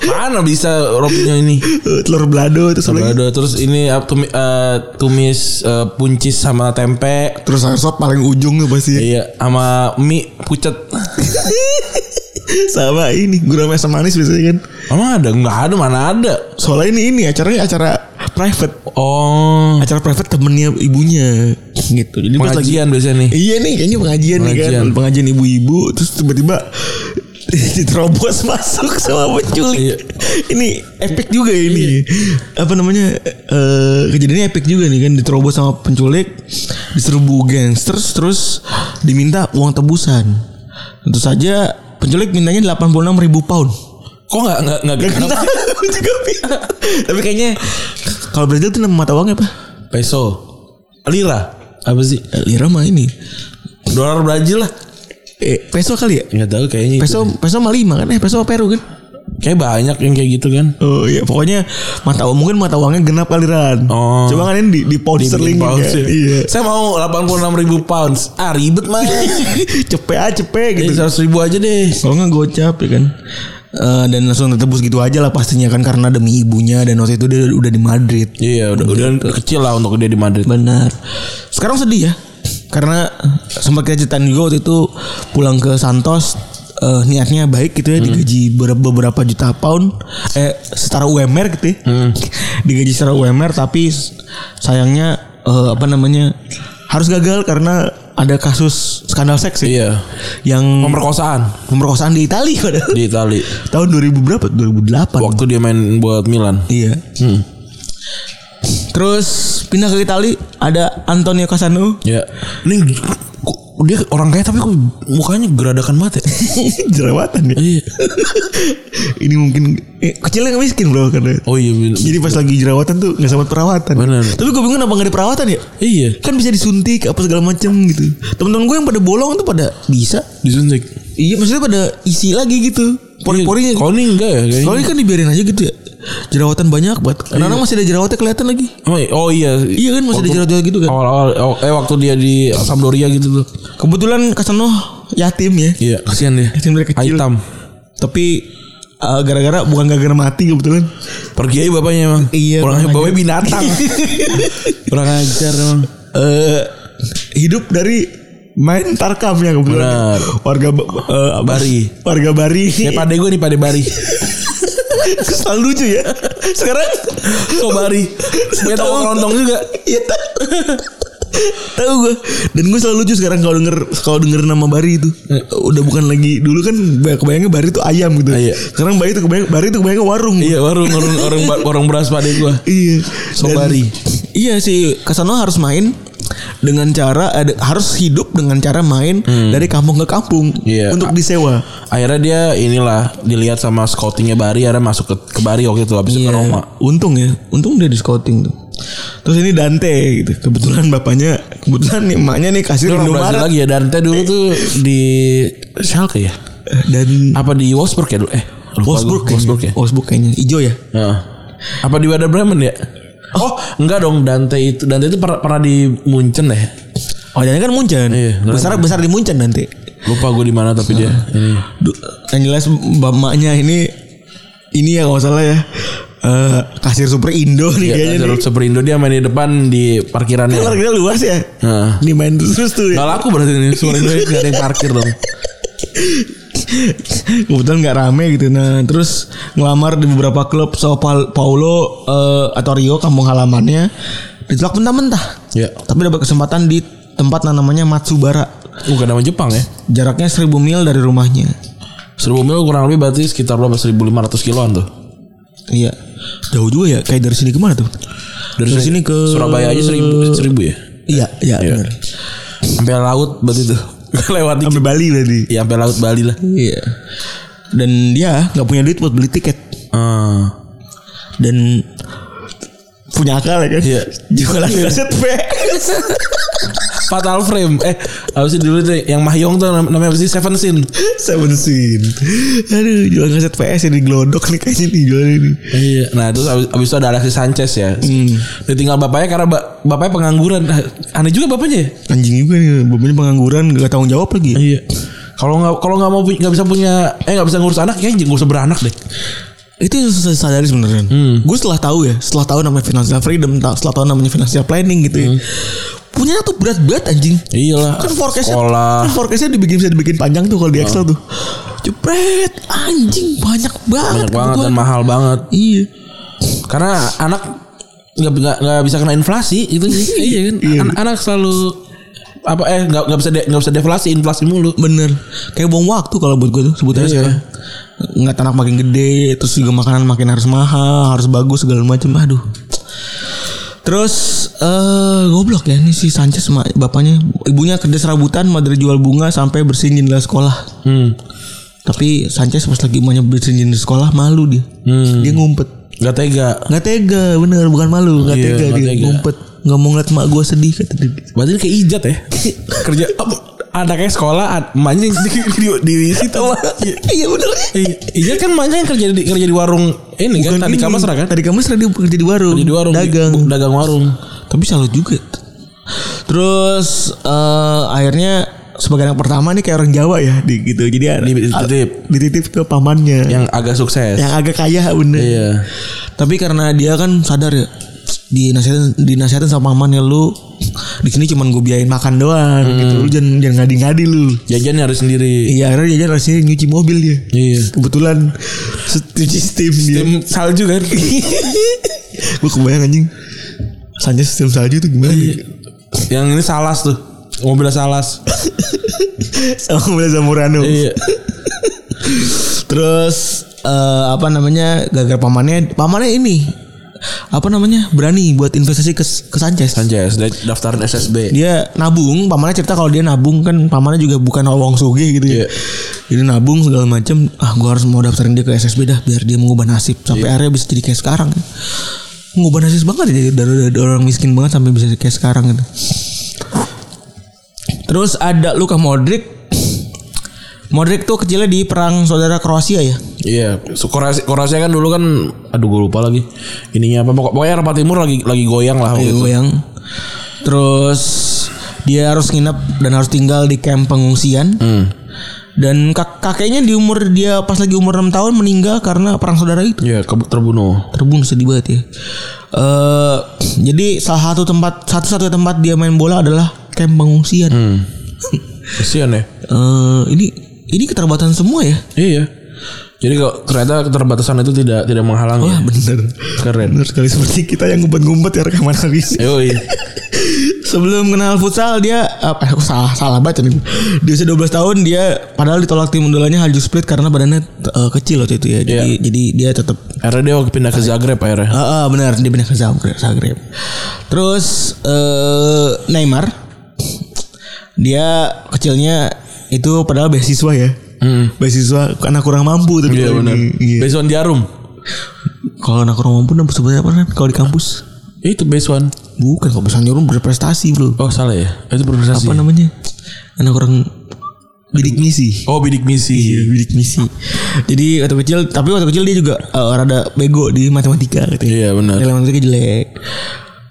Speaker 3: Mana bisa Robinho ini?
Speaker 2: Telur belado terus lagi.
Speaker 3: Belado terus ini apa, tumi- eh, tumis eh, puncis sama tempe.
Speaker 2: Terus sayur sop paling ujung tuh pasti.
Speaker 3: Iya, sama mie pucet.
Speaker 2: Sama ini gurame asam manis biasanya kan.
Speaker 3: Emang ada? Enggak ada, mana ada?
Speaker 2: Soalnya ini ini acaranya acara private.
Speaker 3: Oh,
Speaker 2: Acara private temennya ibunya gitu. Jadi pas lagi
Speaker 3: pengajian biasanya nih.
Speaker 2: Iya nih kayaknya pengajian, nih
Speaker 3: Pengajian.
Speaker 2: kan Pengajian ibu-ibu Terus tiba-tiba Diterobos masuk sama penculik
Speaker 3: Iya.
Speaker 2: Ini epic juga ini Apa namanya eh, Kejadiannya epic juga nih kan Diterobos sama penculik Diserbu gangsters Terus diminta uang tebusan Tentu saja Penculik mintanya 86 ribu pound
Speaker 3: Kok enggak enggak enggak genap?
Speaker 2: Aku juga bingung. Tapi kayaknya Kalau Brazil tuh nama mata uangnya apa?
Speaker 3: Peso. Lira. Apa sih?
Speaker 2: Lira mah ini
Speaker 3: Dolar Brazil lah.
Speaker 2: eh, Peso kali ya?
Speaker 3: Enggak tahu kayaknya itu.
Speaker 2: Peso peso mah lima kan? Eh peso Peru kan?
Speaker 3: Kayak banyak yang kayak gitu kan.
Speaker 2: Oh iya pokoknya mata uang mungkin mata uangnya genap aliran.
Speaker 3: Oh.
Speaker 2: Cuma kan ini di, di pound sterling kan.
Speaker 3: Pounds ya.
Speaker 2: Iya.
Speaker 3: Saya mau 86 ribu pounds. Ah ribet mah.
Speaker 2: cepet aja cepet gitu.
Speaker 3: Jadi 100 ribu aja deh.
Speaker 2: Kalau nggak gocap ya kan. Eh, dan langsung ditebus gitu aja lah pastinya kan karena demi ibunya dan waktu itu dia udah di Madrid.
Speaker 3: Iya, udah, udah kecil lah untuk dia di Madrid.
Speaker 2: Benar. Sekarang sedih ya. Karena sempat kita ceritain juga waktu itu pulang ke Santos eh, niatnya baik gitu ya digaji ber- beberapa juta pound eh setara UMR gitu ya. Digaji setara UMR tapi s- sayangnya eh, apa namanya harus gagal karena ada kasus skandal seks ya.
Speaker 3: Iya.
Speaker 2: Yang
Speaker 3: Pemerkosaan
Speaker 2: pemerkosaan di Italia padahal.
Speaker 3: di Itali.
Speaker 2: Tahun 2000 berapa? 2008.
Speaker 3: Waktu dia main buat Milan.
Speaker 2: Iya. Terus pindah ke Italia ada Antonio Cassano.
Speaker 3: Ya. Ini kok dia orang kaya tapi kok mukanya geradakan banget ya.
Speaker 2: jerawatan ya
Speaker 3: Iya.
Speaker 2: ini mungkin eh, kecilnya nggak miskin bro karena
Speaker 3: Oh iya. bener.
Speaker 2: jadi pas lagi jerawatan tuh nggak sama perawatan
Speaker 3: Bener.
Speaker 2: tapi gue bingung kenapa nggak ada perawatan ya
Speaker 3: Iya.
Speaker 2: kan bisa disuntik apa segala macem gitu temen-temen gue yang pada bolong tuh pada bisa
Speaker 3: Disuntik.
Speaker 2: iya maksudnya pada isi lagi gitu
Speaker 3: Iya,
Speaker 2: pori-porinya
Speaker 3: Kalau ini enggak ya kayaknya.
Speaker 2: soalnya kan dibiarin aja gitu ya jerawatan banyak banget
Speaker 3: Iya.
Speaker 2: anak-anak masih ada jerawatnya kelihatan lagi
Speaker 3: Oh, iya. Oh iya.
Speaker 2: iya kan masih ada
Speaker 3: Waktu-
Speaker 2: jerawat-jerawat gitu kan
Speaker 3: Awal-awal oh, eh waktu dia di Sampdoria gitu tuh.
Speaker 2: kebetulan Kasano yatim ya
Speaker 3: Iya, kasihan dia.
Speaker 2: Yatim dari kecil.
Speaker 3: Hitam.
Speaker 2: tapi eh, gara-gara bukan gara-gara mati kebetulan
Speaker 3: Pergi aja bapaknya emang.
Speaker 2: Iya,
Speaker 3: Orang
Speaker 2: kurang
Speaker 3: bapaknya
Speaker 2: ajar.
Speaker 3: binatang. Kurang ajar emang.
Speaker 2: eh hidup dari main tarkam ya kebetulan
Speaker 3: Benar.
Speaker 2: warga ba- eh, apa?
Speaker 3: Bari.
Speaker 2: warga Bari Iya.
Speaker 3: Ya pade gue nih pade Bari.
Speaker 2: selalu lucu ya sekarang
Speaker 3: Kok Bari? Gue tau kerontong juga.
Speaker 2: Iya. Tahu gue. Dan gue selalu lucu sekarang kalau denger kalau denger nama Bari itu. Udah bukan lagi dulu kan banyak kebayangnya Bari itu ayam gitu.
Speaker 3: Iya.
Speaker 2: Sekarang Bari itu kebayang Bari itu kebayangnya warung.
Speaker 3: Iya warung warung warung, warung beras pade gua.
Speaker 2: Iya.
Speaker 3: Sob
Speaker 2: Dan-
Speaker 3: Bari.
Speaker 2: Iya sih, Kasano harus main dengan cara eh, harus hidup dengan cara main dari kampung ke kampung
Speaker 3: Iya.
Speaker 2: untuk disewa.
Speaker 3: Akhirnya dia inilah dilihat sama scoutingnya Bari, akhirnya masuk ke, ke Bari waktu itu habis itu
Speaker 2: Iya.
Speaker 3: ke Roma.
Speaker 2: Untung ya, untung dia di scouting tuh. Terus ini Dante gitu. Kebetulan bapaknya, kebetulan nih emaknya nih kasir
Speaker 3: Itu orang Brazil
Speaker 2: Indomaret.
Speaker 3: lagi ya Dante dulu tuh di Schalke ya?
Speaker 2: Dan
Speaker 3: Apa di Wolfsburg ya dulu? Eh, lupa
Speaker 2: Wolfsburg
Speaker 3: gua. Wolfsburg ya.
Speaker 2: kayaknya. Wolfsburg kayaknya. Ijo ya?
Speaker 3: Heeh. Apa di Werder Bremen ya? Oh, enggak dong Dante itu Dante itu pernah, pernah di Munchen deh.
Speaker 2: Oh, jangan kan Munchen.
Speaker 3: Iya,
Speaker 2: besar besar di Munchen nanti.
Speaker 3: Lupa gue di mana tapi dia ini.
Speaker 2: Du- Yang jelas bapaknya ini ini ya kalau salah ya. eh, kasir Super Indo nih kayaknya
Speaker 3: Iya,
Speaker 2: nih.
Speaker 3: Superindo dia main di depan di parkirannya.
Speaker 2: Luar kita luas ya.
Speaker 3: Heeh.
Speaker 2: Ini main terus tuh
Speaker 3: Gak
Speaker 2: ya.
Speaker 3: laku berarti ini Superindo gak ada yang parkir dong.
Speaker 2: Kebetulan nggak rame gitu. Nah terus ngelamar di beberapa klub so Pal- Paulo eh, atau Rio kampung halamannya ditolak mentah-mentah.
Speaker 3: Iya.
Speaker 2: Tapi dapat kesempatan di tempat yang namanya Matsubara.
Speaker 3: Bukan nama Jepang ya.
Speaker 2: Jaraknya 1000 mil dari rumahnya.
Speaker 3: Seribu mil kurang lebih berarti sekitar berapa? 1.500 kiloan tuh.
Speaker 2: Iya. Jauh juga ya. Kayak dari sini kemana tuh?
Speaker 3: Dari,
Speaker 2: sini ke-
Speaker 3: Surabaya aja seribu, seribu ya.
Speaker 2: Iya, iya.
Speaker 3: Iya.
Speaker 2: benar.
Speaker 3: Sampai laut berarti tuh. Lewat dikit.
Speaker 2: Sampai Bali berarti.
Speaker 3: Ya sampai laut Bali lah.
Speaker 2: Iya. Dan dia nggak punya duit buat beli tiket
Speaker 3: Ah.
Speaker 2: dan punya akal ya kan?
Speaker 3: Iya.
Speaker 2: Jualan kaset V.
Speaker 3: Fatal Frame. Eh, apa sih dulu tuh yang Mahyong tuh nam- namanya apa sih? Seven Sin.
Speaker 2: Seven Sin. Aduh, jualan kaset PS yang digelodok nih kayaknya nih jualan ini.
Speaker 3: Iya. Nah, terus abis, abis itu ada Alexis Sanchez ya. Ditinggal bapaknya karena ba- bapaknya pengangguran. Ah, Aneh juga bapaknya ya.
Speaker 2: Anjing juga nih, bapaknya pengangguran gak tanggung jawab lagi.
Speaker 3: Iya. Kalau nggak kalau nggak mau pu- nggak bisa punya eh nggak bisa ngurus anak ya nggak usah beranak deh.
Speaker 2: Itu yang saya sadari sebenarnya.
Speaker 3: Hmm.
Speaker 2: Gue setelah tahu ya, setelah tahu namanya financial freedom, ta- setelah tahu namanya financial planning gitu. ya.
Speaker 3: Hmm.
Speaker 2: Punya tuh berat banget anjing.
Speaker 3: Iyalah.
Speaker 2: Kan forecastnya
Speaker 3: sekolah.
Speaker 2: kan forecastnya dibikin bisa dibikin panjang tuh kalau di
Speaker 3: Ah.
Speaker 2: Excel tuh. Jepret, anjing banyak banget.
Speaker 3: Banyak banget dan
Speaker 2: kebutuhan.
Speaker 3: mahal banget.
Speaker 2: Iya.
Speaker 3: Karena anak nggak nggak nggak bisa kena inflasi itu iya kan. An- anak selalu apa eh nggak nggak bisa de- nggak bisa deflasi inflasi mulu.
Speaker 2: Bener Kayak buang waktu kalau buat gue tuh Sebutannya
Speaker 3: Iya.
Speaker 2: sekarang Nggak anak makin gede Terus juga makanan makin harus mahal Harus bagus segala macam Aduh Terus eh goblok ya nih si Sanchez sama bapaknya ibunya kerja serabutan madre jual bunga sampai bersihin jendela sekolah.
Speaker 3: Hmm.
Speaker 2: Tapi Sanchez pas lagi emaknya bersihin jendela sekolah malu dia.
Speaker 3: Hmm.
Speaker 2: Dia ngumpet.
Speaker 3: Gak tega.
Speaker 2: Nggak tega bener bukan malu nggak
Speaker 3: Iya,
Speaker 2: tega
Speaker 3: nggak
Speaker 2: dia
Speaker 3: tega.
Speaker 2: ngumpet. Nggak mau ngeliat mak gue sedih kata dia.
Speaker 3: Berarti kayak ijat ya. Kerja apa, anaknya sekolah ad- emaknya di, di, di, di situ. Iya.
Speaker 2: Iya bener.
Speaker 3: Iya, Ijat kan emaknya yang kerja di kerja di warung ini
Speaker 2: Bukan
Speaker 3: kan tadi
Speaker 2: ini.
Speaker 3: Kamasra kan?
Speaker 2: Tadi Kamasra dia kerja di warung.
Speaker 3: Kerja di warung di-
Speaker 2: Dagang.
Speaker 3: bu- dagang warung.
Speaker 2: Tapi salut juga. Terus eh, akhirnya sebagai anak pertama nih kayak orang Jawa ya di, gitu. Jadi ada-
Speaker 3: Di- dititip.
Speaker 2: a- dititip ke pamannya. Yang,
Speaker 3: yang agak sukses.
Speaker 2: agak kaya bener.
Speaker 3: Iya.
Speaker 2: Tapi karena dia kan sadar ya dinasihatin dinasihatin sama pamannya lu di sini cuman gue biayain makan doang gitu lu jangan jangan ngadi-ngadi lu
Speaker 3: Jajan harus sendiri.
Speaker 2: iya akhirnya jajan rasanya nyuci mobil dia
Speaker 3: Iya.
Speaker 2: kebetulan se- nyuci steam dia
Speaker 3: Tim salju kan.
Speaker 2: gue kebayang anjing Sanchez sistem salju itu gimana ya?
Speaker 3: yang ini salas tuh. Mobilnya salas.
Speaker 2: sama Bela Zamorano
Speaker 3: iya.
Speaker 2: terus eh, apa namanya gagal pamannya pamannya ini apa namanya berani buat investasi ke, ke Sanchez
Speaker 3: Sanchez da- daftarin SSB.
Speaker 2: dia nabung pamannya cerita kalau dia nabung kan pamannya juga bukan wong sugih gitu ya
Speaker 3: Iya.
Speaker 2: jadi nabung segala macem ah gua harus mau daftarin dia ke SSB dah biar dia mengubah nasib sampai akhirnya bisa jadi kayak sekarang mengubah nasib banget ya jadi dari, dari orang miskin banget sampai bisa kayak sekarang gitu terus ada Luka Modric Modric tuh kecilnya di perang saudara Kroasia ya
Speaker 3: Iya, so, Kroasia, Kroasia kan dulu kan aduh gue lupa lagi. Ininya apa Pokok- pokoknya Eropa Timur lagi lagi goyang lah
Speaker 2: Kayak
Speaker 3: waktu itu.
Speaker 2: goyang. Terus dia harus nginep dan harus tinggal di camp pengungsian. Dan kak- kakeknya di umur dia pas lagi umur 6 tahun meninggal karena perang saudara itu.
Speaker 3: Iya, ke- terbunuh.
Speaker 2: Terbunuh sedih banget ya. Eh, jadi salah satu tempat satu-satunya tempat dia main bola adalah camp pengungsian.
Speaker 3: Kasihan ya.
Speaker 2: Eh, ini ini keterbatasan semua ya.
Speaker 3: Iya. Jadi kalau ternyata keterbatasan itu tidak tidak menghalangi.
Speaker 2: Wah bener
Speaker 3: Keren.
Speaker 2: Bener sekali seperti kita yang ngumpet-ngumpet ya rekaman habis
Speaker 3: Yoi.
Speaker 2: sebelum kenal futsal dia apa ya, aku salah salah baca nih. Di usia 12 tahun dia padahal ditolak tim undulannya Halju Split karena badannya eh, kecil waktu itu ya. Jadi jadi dia tetap
Speaker 3: Akhirnya dia waktu pindah ke Zagreb akhirnya.
Speaker 2: Ah, ah, benar dia pindah ke Zagreb. Zagreb. Terus eh, Neymar dia kecilnya itu padahal beasiswa ya. Beasiswa anak kurang mampu tapi
Speaker 3: Iya
Speaker 2: kalau
Speaker 3: benar.
Speaker 2: ini, iya.
Speaker 3: Based on Jarum.
Speaker 2: Kalau anak kurang mampu nampak sebenarnya apa kan? Kalau di kampus
Speaker 3: Eh, Itu based on.
Speaker 2: bukan kalau bisa nyuruh berprestasi bro.
Speaker 3: Oh salah ya. Itu berprestasi.
Speaker 2: Apa namanya? Anak kurang bidik misi.
Speaker 3: Oh bidik misi.
Speaker 2: bidik misi. Jadi waktu kecil tapi waktu kecil dia juga eh, rada bego di matematika gitu. ya.
Speaker 3: Iya benar.
Speaker 2: Nilai matematika jelek.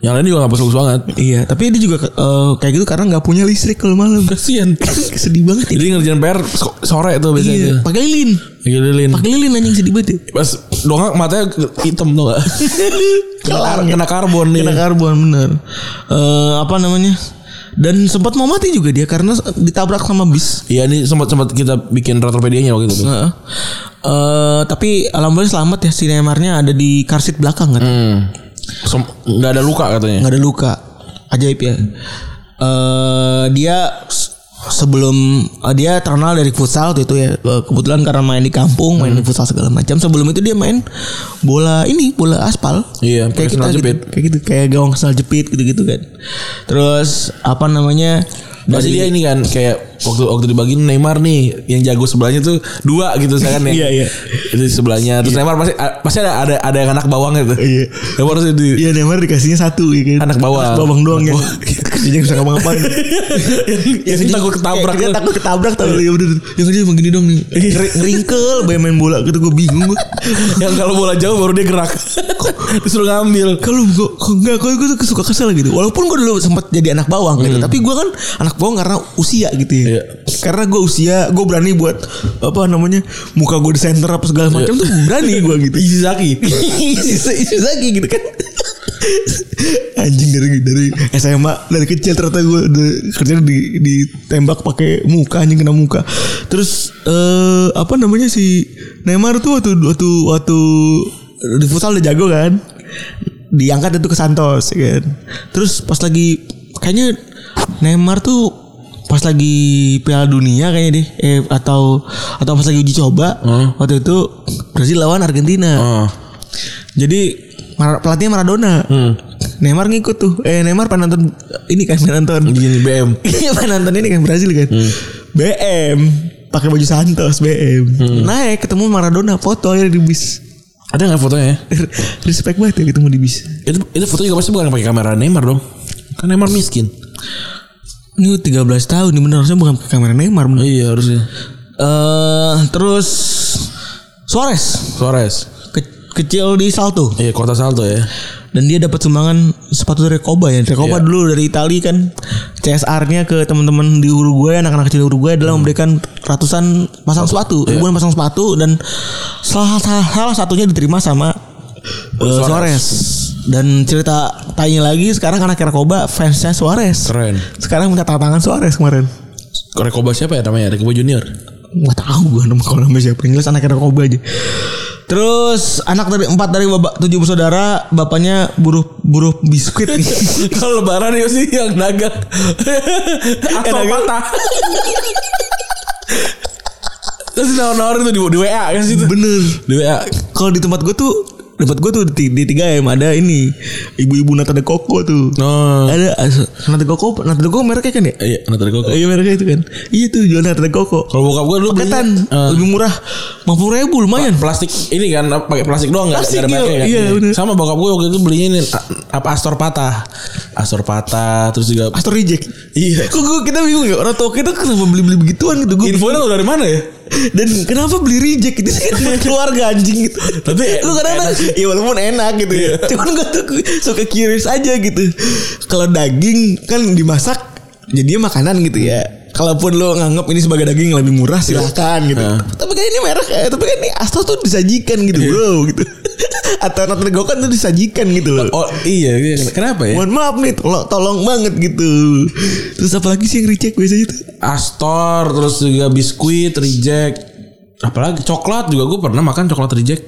Speaker 3: Yang lain juga gak bagus banget.
Speaker 2: Iya, tapi dia juga eh, kayak gitu karena nggak punya listrik kalau malam.
Speaker 3: Kasian.
Speaker 2: sedih banget ya.
Speaker 3: Jadi ngerjain PR so- sore
Speaker 2: Iya,
Speaker 3: tuh biasanya.
Speaker 2: pakai lilin.
Speaker 3: Lagi lilin.
Speaker 2: Pakai lilin anjing sedih banget. Ya.
Speaker 3: Pas dongak matanya hitam tuh gak? kena, kar- kena karbon nih.
Speaker 2: Kena karbon bener. Eh, apa namanya? Dan sempat mau mati juga dia karena ditabrak sama bis.
Speaker 3: Iya ini sempat sempat kita bikin retropedianya waktu itu. tuh.
Speaker 2: Heeh. Eh, tapi alhamdulillah selamat ya si Neymarnya ada di car seat belakang kan.
Speaker 3: Hmm. Sem- nggak ada luka katanya.
Speaker 2: nggak ada luka ajaib ya eh dia s- sebelum eh, dia terkenal dari futsal waktu itu ya Eh, kebetulan karena main di kampung main di
Speaker 3: Hmm.
Speaker 2: futsal segala macam sebelum itu dia main bola ini bola aspal
Speaker 3: Iya,
Speaker 2: kayak
Speaker 3: pakai
Speaker 2: kita
Speaker 3: sandal
Speaker 2: gitu,
Speaker 3: jepit.
Speaker 2: kayak gitu kayak gawang sandal jepit gitu gitu kan terus apa namanya
Speaker 3: Pasti dia ini kan kayak waktu waktu dibagi Neymar nih yang jago sebelahnya tuh dua gitu saya kan ya.
Speaker 2: Iya, iya.
Speaker 3: Itu di sebelahnya terus Neymar pasti a- pasti ada ada ada yang anak bawangnya tuh.
Speaker 2: Iya.
Speaker 3: Neymar harus di
Speaker 2: Iya Neymar dikasihnya satu ya kan.
Speaker 3: Anak bawang.
Speaker 2: Anak bawang doang ya. Kerjanya bisa gitu. ngapa-ngapain.
Speaker 3: yang takut ketabrak
Speaker 2: Kita
Speaker 3: tuh. Iya.
Speaker 2: takut ketabrak tau ya bener. Yang kerja begini dong nih. Ngeri- Ngeringkel bayar main bola gitu gue bingung gue.
Speaker 3: yang kalau bola jauh baru dia gerak. Disuruh ngambil.
Speaker 2: Kalau gue kok enggak kalau gue tuh suka kesel gitu. Walaupun gue dulu sempat jadi anak bawang gitu, tapi gue kan anak bawang karena usia gitu ya.
Speaker 3: Hmm. Iya.
Speaker 2: Karena gue usia, gue berani buat apa namanya? muka gue di center apa segala macam tuh berani gue gitu.
Speaker 3: Izaki.
Speaker 2: Isu lagi gitu kan anjing dari dari SMA dari kecil ternyata gue kerja di ditembak pakai muka anjing kena muka terus eh, apa namanya si Neymar tuh waktu waktu waktu di futsal udah jago kan diangkat itu ke Santos ya kan terus pas lagi kayaknya Neymar tuh pas lagi Piala Dunia kayaknya deh eh, atau atau pas lagi uji coba
Speaker 3: Hmm.
Speaker 2: waktu itu Brazil lawan Argentina
Speaker 3: Oh.
Speaker 2: jadi Mar- pelatihnya Maradona.
Speaker 3: Hmm.
Speaker 2: Neymar ngikut tuh. Eh Neymar penonton ini kan penonton.
Speaker 3: Gini BM.
Speaker 2: Iya penonton ini kan Brazil kan.
Speaker 3: Hmm.
Speaker 2: BM pakai baju Santos BM.
Speaker 3: Hmm.
Speaker 2: Naik ketemu Maradona foto akhirnya di bis.
Speaker 3: Ada nggak fotonya? ya?
Speaker 2: Respect banget ya ketemu di bis.
Speaker 3: Itu itu foto juga pasti bukan pakai kamera Neymar dong. Kan Neymar miskin.
Speaker 2: Ini 13 tahun ini bener harusnya bukan pakai kamera Neymar bener.
Speaker 3: Iya harusnya.
Speaker 2: Eh, terus Suarez
Speaker 3: Suarez.
Speaker 2: Ke- kecil di Salto
Speaker 3: Iya kota Salto ya.
Speaker 2: dan dia dapat sumbangan sepatu dari Koba ya. Dari Koba
Speaker 3: Iya.
Speaker 2: dulu dari Itali kan CSR-nya ke teman-teman di Uruguay, anak-anak kecil Uruguay adalah
Speaker 3: Hmm.
Speaker 2: memberikan ratusan pasang sepatu,
Speaker 3: Iya.
Speaker 2: ribuan pasang sepatu dan salah, salah, salah satunya diterima sama eh,
Speaker 3: Suarez.
Speaker 2: Suarez. Dan cerita tanya lagi sekarang anak Koba fansnya Suarez.
Speaker 3: Keren.
Speaker 2: Sekarang minta tanda tangan Suarez kemarin.
Speaker 3: Rekoba siapa ya namanya? Rekoba Junior.
Speaker 2: Gak tahu gue nama kalau nama siapa Inggris anak anak Koba aja. Terus anak dari empat dari bapak tujuh bersaudara bapaknya buruh buruh biskuit.
Speaker 3: Kalau lebaran ya sih yang dagang. Atau
Speaker 2: dagang.
Speaker 3: patah. Terus nawar-nawarin tuh di, di WA kan situ.
Speaker 2: Bener.
Speaker 3: Di WA.
Speaker 2: Kalau di tempat gue tuh di tempat gue tuh di, di 3M ada ini ibu-ibu nata de coco tuh.
Speaker 3: Oh.
Speaker 2: Ada as- nata de coco, nata de coco mereknya kan ya?
Speaker 3: Iya, nanti ada kok.
Speaker 2: Iya mereknya itu kan. Iya tuh jual nata de coco.
Speaker 3: Kalau bokap gue dulu belinya,
Speaker 2: Paketan
Speaker 3: eh,
Speaker 2: lebih murah, 50 ribu lumayan.
Speaker 3: plastik ini kan apa, pakai plastik doang nggak
Speaker 2: Plastik,
Speaker 3: nggak
Speaker 2: iya,
Speaker 3: bahannya
Speaker 2: iya, bener.
Speaker 3: sama bokap gue waktu itu belinya ini a- apa astor patah astor patah terus juga
Speaker 2: Astor reject.
Speaker 3: Iya.
Speaker 2: Kok gua- kita bingung ya orang tua kita kenapa beli-beli begituan gitu gue.
Speaker 3: infonya tuh dari mana ya
Speaker 2: Dan kenapa beli reject gitu kan buat keluarga anjing gitu.
Speaker 3: Tapi
Speaker 2: lu kadang ya walaupun enak gitu ya. Cuman gue tuh suka curious aja gitu. Kalau daging kan dimasak jadinya makanan gitu ya. Kalaupun lu nganggap ini sebagai daging yang lebih murah silakan gitu.
Speaker 3: Iya.
Speaker 2: Tapi kan ini merek ya. Tapi kan ini Astro tuh disajikan gitu bro gitu. Atau Nathan Gokan tuh disajikan gitu loh.
Speaker 3: oh iya iya. kenapa ya
Speaker 2: Mohon maaf nih, tolong, tolong banget gitu. Terus apalagi sih yang reject biasanya tuh?
Speaker 3: astor terus juga biskuit reject apalagi coklat juga gue pernah makan coklat reject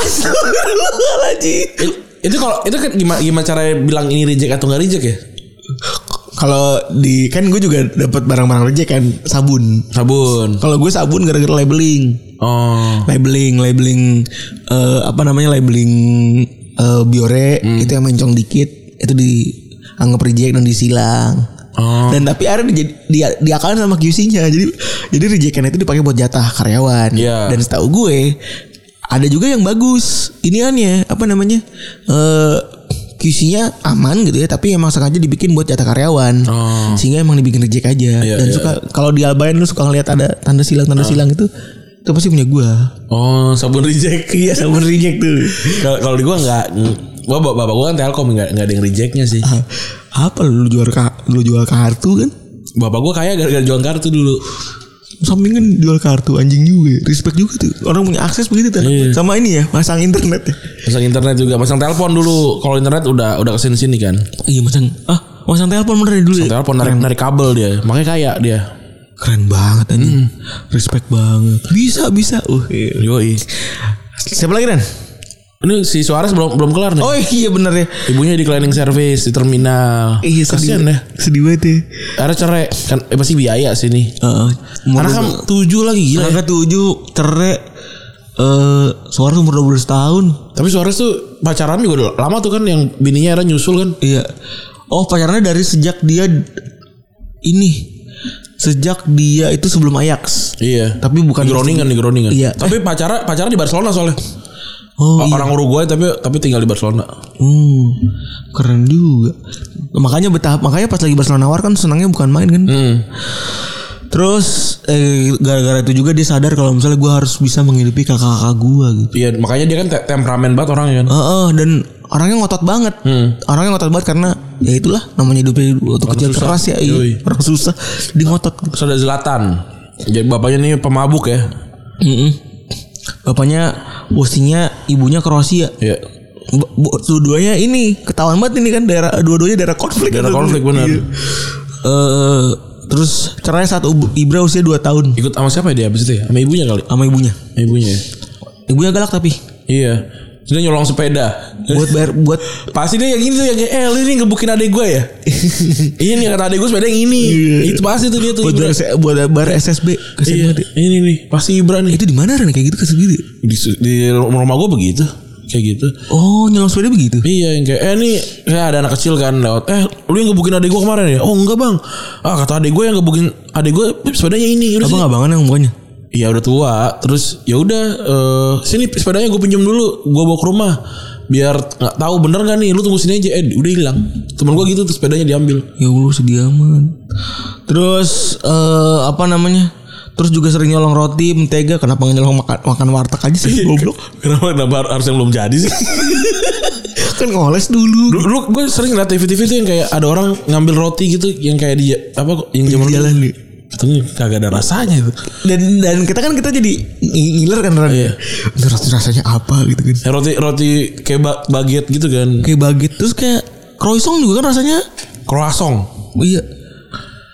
Speaker 2: Astagfirullahaladzim.
Speaker 3: It- itu kalau itu kan gimana gimana cara bilang ini reject atau nggak reject ya
Speaker 2: kalau di kan gue juga dapat barang-barang reject kan sabun.
Speaker 3: Sabun.
Speaker 2: Kalau gue sabun gara-gara labeling.
Speaker 3: Oh.
Speaker 2: Labeling, labeling eh, apa namanya labeling eh, biore itu yang mencong dikit itu dianggap reject dan disilang.
Speaker 3: Oh.
Speaker 2: Dan tapi akhirnya di, di, diakalin sama QC-nya. Jadi jadi rejection itu dipakai buat jatah karyawan.
Speaker 3: Iya.
Speaker 2: Dan setahu gue ada juga yang bagus. Iniannya apa namanya? Eh QC-nya aman gitu ya, tapi emang sengaja dibikin buat jatah karyawan.
Speaker 3: Oh.
Speaker 2: Sehingga emang dibikin reject aja.
Speaker 3: Iya,
Speaker 2: Dan
Speaker 3: iya.
Speaker 2: suka kalau di Albayan lu suka ngeliat ada tanda silang tanda silang itu itu pasti punya gua.
Speaker 3: Oh, sabun reject. Iya, sabun reject tuh. Kalau kalau di gua enggak gua bapak, bapak gua kan Telkom enggak enggak ada yang rejectnya sih.
Speaker 2: Ah, apa lu jual ka- lu jual kartu kan?
Speaker 3: Bapak gua kaya gara-gara jualan kartu dulu.
Speaker 2: Sampingan kan jual kartu anjing juga. Respect juga tuh. Orang punya akses begitu tuh. Sama ini ya, masang internet ya.
Speaker 3: Pasang internet juga, pasang telepon dulu. Kalau internet udah udah kesini sini kan.
Speaker 2: Iya masang ah masang telepon bener dulu ya.
Speaker 3: Telepon narik narik kabel dia, makanya kaya dia.
Speaker 2: Keren banget anjing. Respect banget. Bisa bisa. Uh. iya.
Speaker 3: Yoi.
Speaker 2: Siapa lagi Ren?
Speaker 3: Ini si Suarez belum belum kelar nih.
Speaker 2: Oh iya bener ya.
Speaker 3: Ibunya di cleaning service di terminal.
Speaker 2: Iya sedih.
Speaker 3: Kasian ya.
Speaker 2: Sedih banget ya.
Speaker 3: Akhirnya cerai kan eh, pasti biaya sih nih.
Speaker 2: Heeh.
Speaker 3: Anak kan tujuh lagi gila. ya.
Speaker 2: Anak ketujuh cerai eh suara umur 12 tahun.
Speaker 3: Tapi Suarez tuh pacaran juga udah lama tuh kan yang bininya era nyusul kan.
Speaker 2: Iya. Oh pacarnya dari sejak dia ini sejak dia itu sebelum Ajax.
Speaker 3: Iya.
Speaker 2: Tapi bukan
Speaker 3: di Groningen di Groningen. Eh.
Speaker 2: Iya.
Speaker 3: Tapi pacara pacaran di Barcelona soalnya.
Speaker 2: Oh iya.
Speaker 3: Orang Uruguay tapi tapi tinggal di Barcelona.
Speaker 2: Hmm, keren juga. Makanya betah, makanya pas lagi Barcelona nawar kan senangnya bukan main kan.
Speaker 3: Hmm.
Speaker 2: Terus eh, gara-gara itu juga dia sadar kalau misalnya gue harus bisa menghidupi kakak-kakak gue gitu.
Speaker 3: Iya, makanya dia kan te- temperamen banget orangnya kan.
Speaker 2: Heeh, dan orangnya ngotot banget.
Speaker 3: Hmm.
Speaker 2: Orangnya ngotot banget karena ya itulah namanya hidupnya waktu kecil
Speaker 3: susah.
Speaker 2: keras ya. iya.
Speaker 3: Yoi.
Speaker 2: Orang susah di ngotot.
Speaker 3: Saudara Zlatan. Jadi bapaknya nih pemabuk ya.
Speaker 2: Mm-mm. Bapaknya bosinya, ibunya Kroasia.
Speaker 3: Iya.
Speaker 2: Bo- bo- Dua-duanya ini ketahuan banget ini kan daerah dua-duanya daerah konflik.
Speaker 3: Daerah
Speaker 2: Aduh,
Speaker 3: konflik, benar.
Speaker 2: iya. Eh, terus cerai saat Ubu- Ibra usia 2 tahun
Speaker 3: Ikut sama siapa ya dia abis itu ya? Sama ibunya kali.
Speaker 2: sama ibunya.
Speaker 3: Sama ibunya ya.
Speaker 2: Ibunya galak tapi
Speaker 3: Iya. Terus dia nyolong sepeda.
Speaker 2: buat bayar buat
Speaker 3: Pasti dia yang gini tuh yang kayak eh lu ini ngebukin adek gue ya. ini nih kata adek gue sepeda yang ini.
Speaker 2: Iya.
Speaker 3: Itu pasti tuh dia tuh.
Speaker 2: buat
Speaker 3: Ibra.
Speaker 2: bayar, buat bayar SSB. Kasihan
Speaker 3: Iya,
Speaker 2: banget ya.
Speaker 3: ini nih pasti Ibra nih.
Speaker 2: Itu di mana Ren kayak gitu ke segitu?
Speaker 3: Di, di rumah gue begitu. Kayak gitu.
Speaker 2: Oh, nyolong sepeda begitu.
Speaker 3: Iya yang kayak eh nih kayak ada anak kecil kan lewat eh lu yang ngebukin adek gue kemarin ya oh enggak bang ah kata adek gue yang ngebukin adek gue sepedanya ini udah sini."
Speaker 2: Abang-abangan yang mukanya.
Speaker 3: Iya udah tua terus ya udah eh, sini sepedanya gue pinjam dulu gue bawa ke rumah biar nggak tahu bener nggak nih lu tunggu sini aja eh udah hilang temen gue gitu tuh sepedanya diambil
Speaker 2: Ya Allah sedih amat. Terus eh, apa namanya? Terus juga sering nyolong roti, mentega. Kenapa nggak nyolong makan makan warteg aja sih? Goblok.
Speaker 3: kenapa kenapa harus yang belum jadi sih
Speaker 2: kan ngoles dulu.
Speaker 3: dulu, gue sering liat TV TV tuh yang kayak ada orang ngambil roti gitu yang kayak di apa yang zaman dulu.
Speaker 2: Jalan nih.
Speaker 3: katanya kagak ada rasanya itu
Speaker 2: Dan dan kita kan kita jadi ng- ngiler kan Ran.
Speaker 3: Iya.
Speaker 2: Ini rasa- rasanya apa gitu kan.
Speaker 3: Ya, roti roti kayak ba- baguette gitu kan
Speaker 2: Kayak baget terus kayak croissant juga kan rasanya
Speaker 3: croissant
Speaker 2: iya.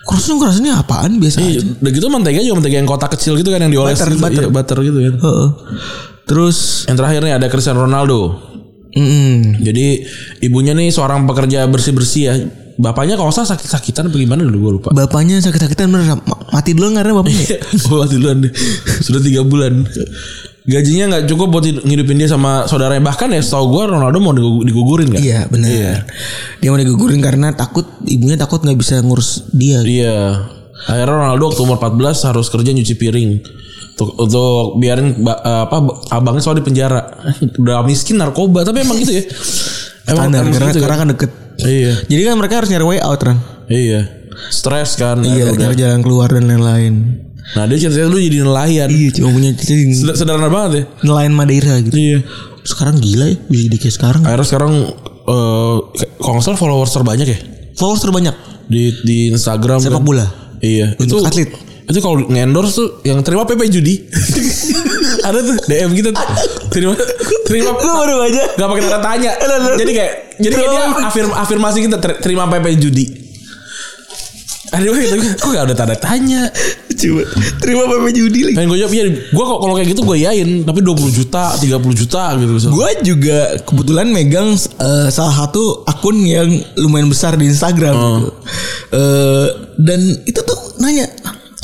Speaker 2: Croissant rasanya apaan biasa aja.
Speaker 3: Iya, udah gitu mentega juga mentega yang kotak kecil gitu kan yang dioles
Speaker 2: Butter,
Speaker 3: gitu.
Speaker 2: butter.
Speaker 3: Iya, butter gitu kan.
Speaker 2: Heeh. Terus
Speaker 3: Yang terakhir nih ada Cristiano Ronaldo.
Speaker 2: mm,
Speaker 3: Jadi ibunya nih seorang pekerja bersih-bersih ya. Bapaknya kalau nggak salah sakit-sakitan apa gimana dulu gue lupa.
Speaker 2: bapaknya sakit-sakitan bener ma- mati dulu karena
Speaker 3: Iya.
Speaker 2: bapaknya.
Speaker 3: Bawa duluan deh. Sudah tiga bulan. Gajinya nggak cukup buat hid- ngidupin dia sama saudaranya. Bahkan ya setahu gue Ronaldo mau digu- digugurin kan.
Speaker 2: Iya benar. Dia mau digugurin karena takut ibunya takut nggak bisa ngurus dia.
Speaker 3: Iya. Akhirnya Ronaldo waktu umur 14 harus kerja nyuci piring. Untuk, untuk biarin ba- eh, apa abangnya soal di penjara. Udah miskin narkoba tapi emang gitu ya. Emang,
Speaker 2: Standar
Speaker 3: emang
Speaker 2: karena
Speaker 3: gitu kan?
Speaker 2: karena kan deket.
Speaker 3: Iya.
Speaker 2: Jadi kan mereka harus nyari way out kan.
Speaker 3: Iya. Stres kan.
Speaker 2: Iya
Speaker 3: udah.
Speaker 2: nyari jalan keluar dan lain-lain.
Speaker 3: Nah dia ceritanya dulu jadi nelayan.
Speaker 2: Iya cuma punya
Speaker 3: Seder- sederhana banget ya.
Speaker 2: nelayan Madeira gitu.
Speaker 3: Iya.
Speaker 2: Sekarang gila ya bisa jadi kayak sekarang.
Speaker 3: Akhirnya sekarang eh kalau nggak salah followers terbanyak ya
Speaker 2: Followers terbanyak
Speaker 3: di di Instagram.
Speaker 2: sepak
Speaker 3: kan.
Speaker 2: bola.
Speaker 3: Iya.
Speaker 2: Untuk atlet.
Speaker 3: Itu kalau ngendorse tuh yang terima PP judi. Ada tuh DM gitu. tuh. Terima terima
Speaker 2: Gue baru aja.
Speaker 3: Gak pakai tanda tanya. gitu, Jadi kayak jadi kayak dia afirm, afirmasi kita ter- terima PP judi. Ada gue gitu, kok gak ada tanda tanya.
Speaker 2: Coba terima Bapak judi lagi.
Speaker 3: Pengen gue jawab, iya gue kok kalau kayak gitu gue yain. Tapi 20 juta, 30 juta gitu. Misal.
Speaker 2: Gue juga kebetulan megang eh, salah satu akun yang lumayan besar di Instagram gitu. Eh, dan itu tuh nanya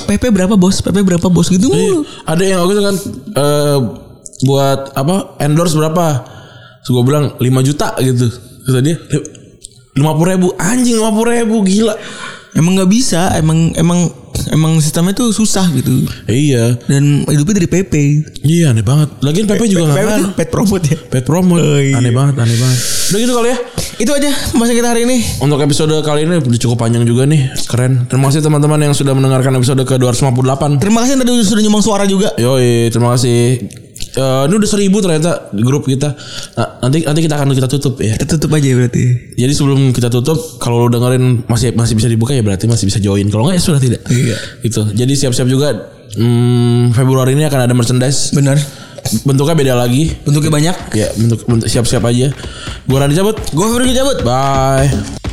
Speaker 2: PP berapa bos? PP berapa bos gitu mulu.
Speaker 3: Ada yang waktu itu kan eh, buat apa endorse berapa? Terus gue bilang 5 juta gitu. Terus dia lima puluh ribu anjing lima puluh ribu gila
Speaker 2: Emang nggak bisa, emang emang emang sistemnya tuh susah gitu.
Speaker 3: iya
Speaker 2: Dan hidupnya dari PP.
Speaker 3: iya aneh banget lagian Pepe Oh, iya. juga nggak
Speaker 2: PP
Speaker 3: ngaruh
Speaker 2: tuh pet promote ya.
Speaker 3: pet promo aneh banget aneh banget udah gitu kali ya
Speaker 2: Itu aja pembahasan kita hari ini.
Speaker 3: Untuk episode kali ini udah cukup panjang juga nih. Keren. Terima kasih teman-teman yang sudah mendengarkan episode ke-258.
Speaker 2: Terima kasih yang tadi sudah nyumbang suara juga.
Speaker 3: Yoi, terima kasih. Eh, ini udah seribu ternyata di grup kita. Nah, nanti nanti kita akan kita tutup ya.
Speaker 2: Kita tutup aja berarti.
Speaker 3: Jadi sebelum kita tutup, kalau lo dengerin masih masih bisa dibuka ya berarti masih bisa join. Kalau nggak ya sudah tidak.
Speaker 2: Iya.
Speaker 3: Gitu. Jadi siap-siap juga hmm, Februari ini akan ada merchandise.
Speaker 2: Benar.
Speaker 3: Bentuknya beda lagi.
Speaker 2: Bentuknya banyak.
Speaker 3: Ya, bentuk bentuk siap-siap aja. Gua Randy cabut.
Speaker 2: Gue Ferdi cabut.
Speaker 3: Bye.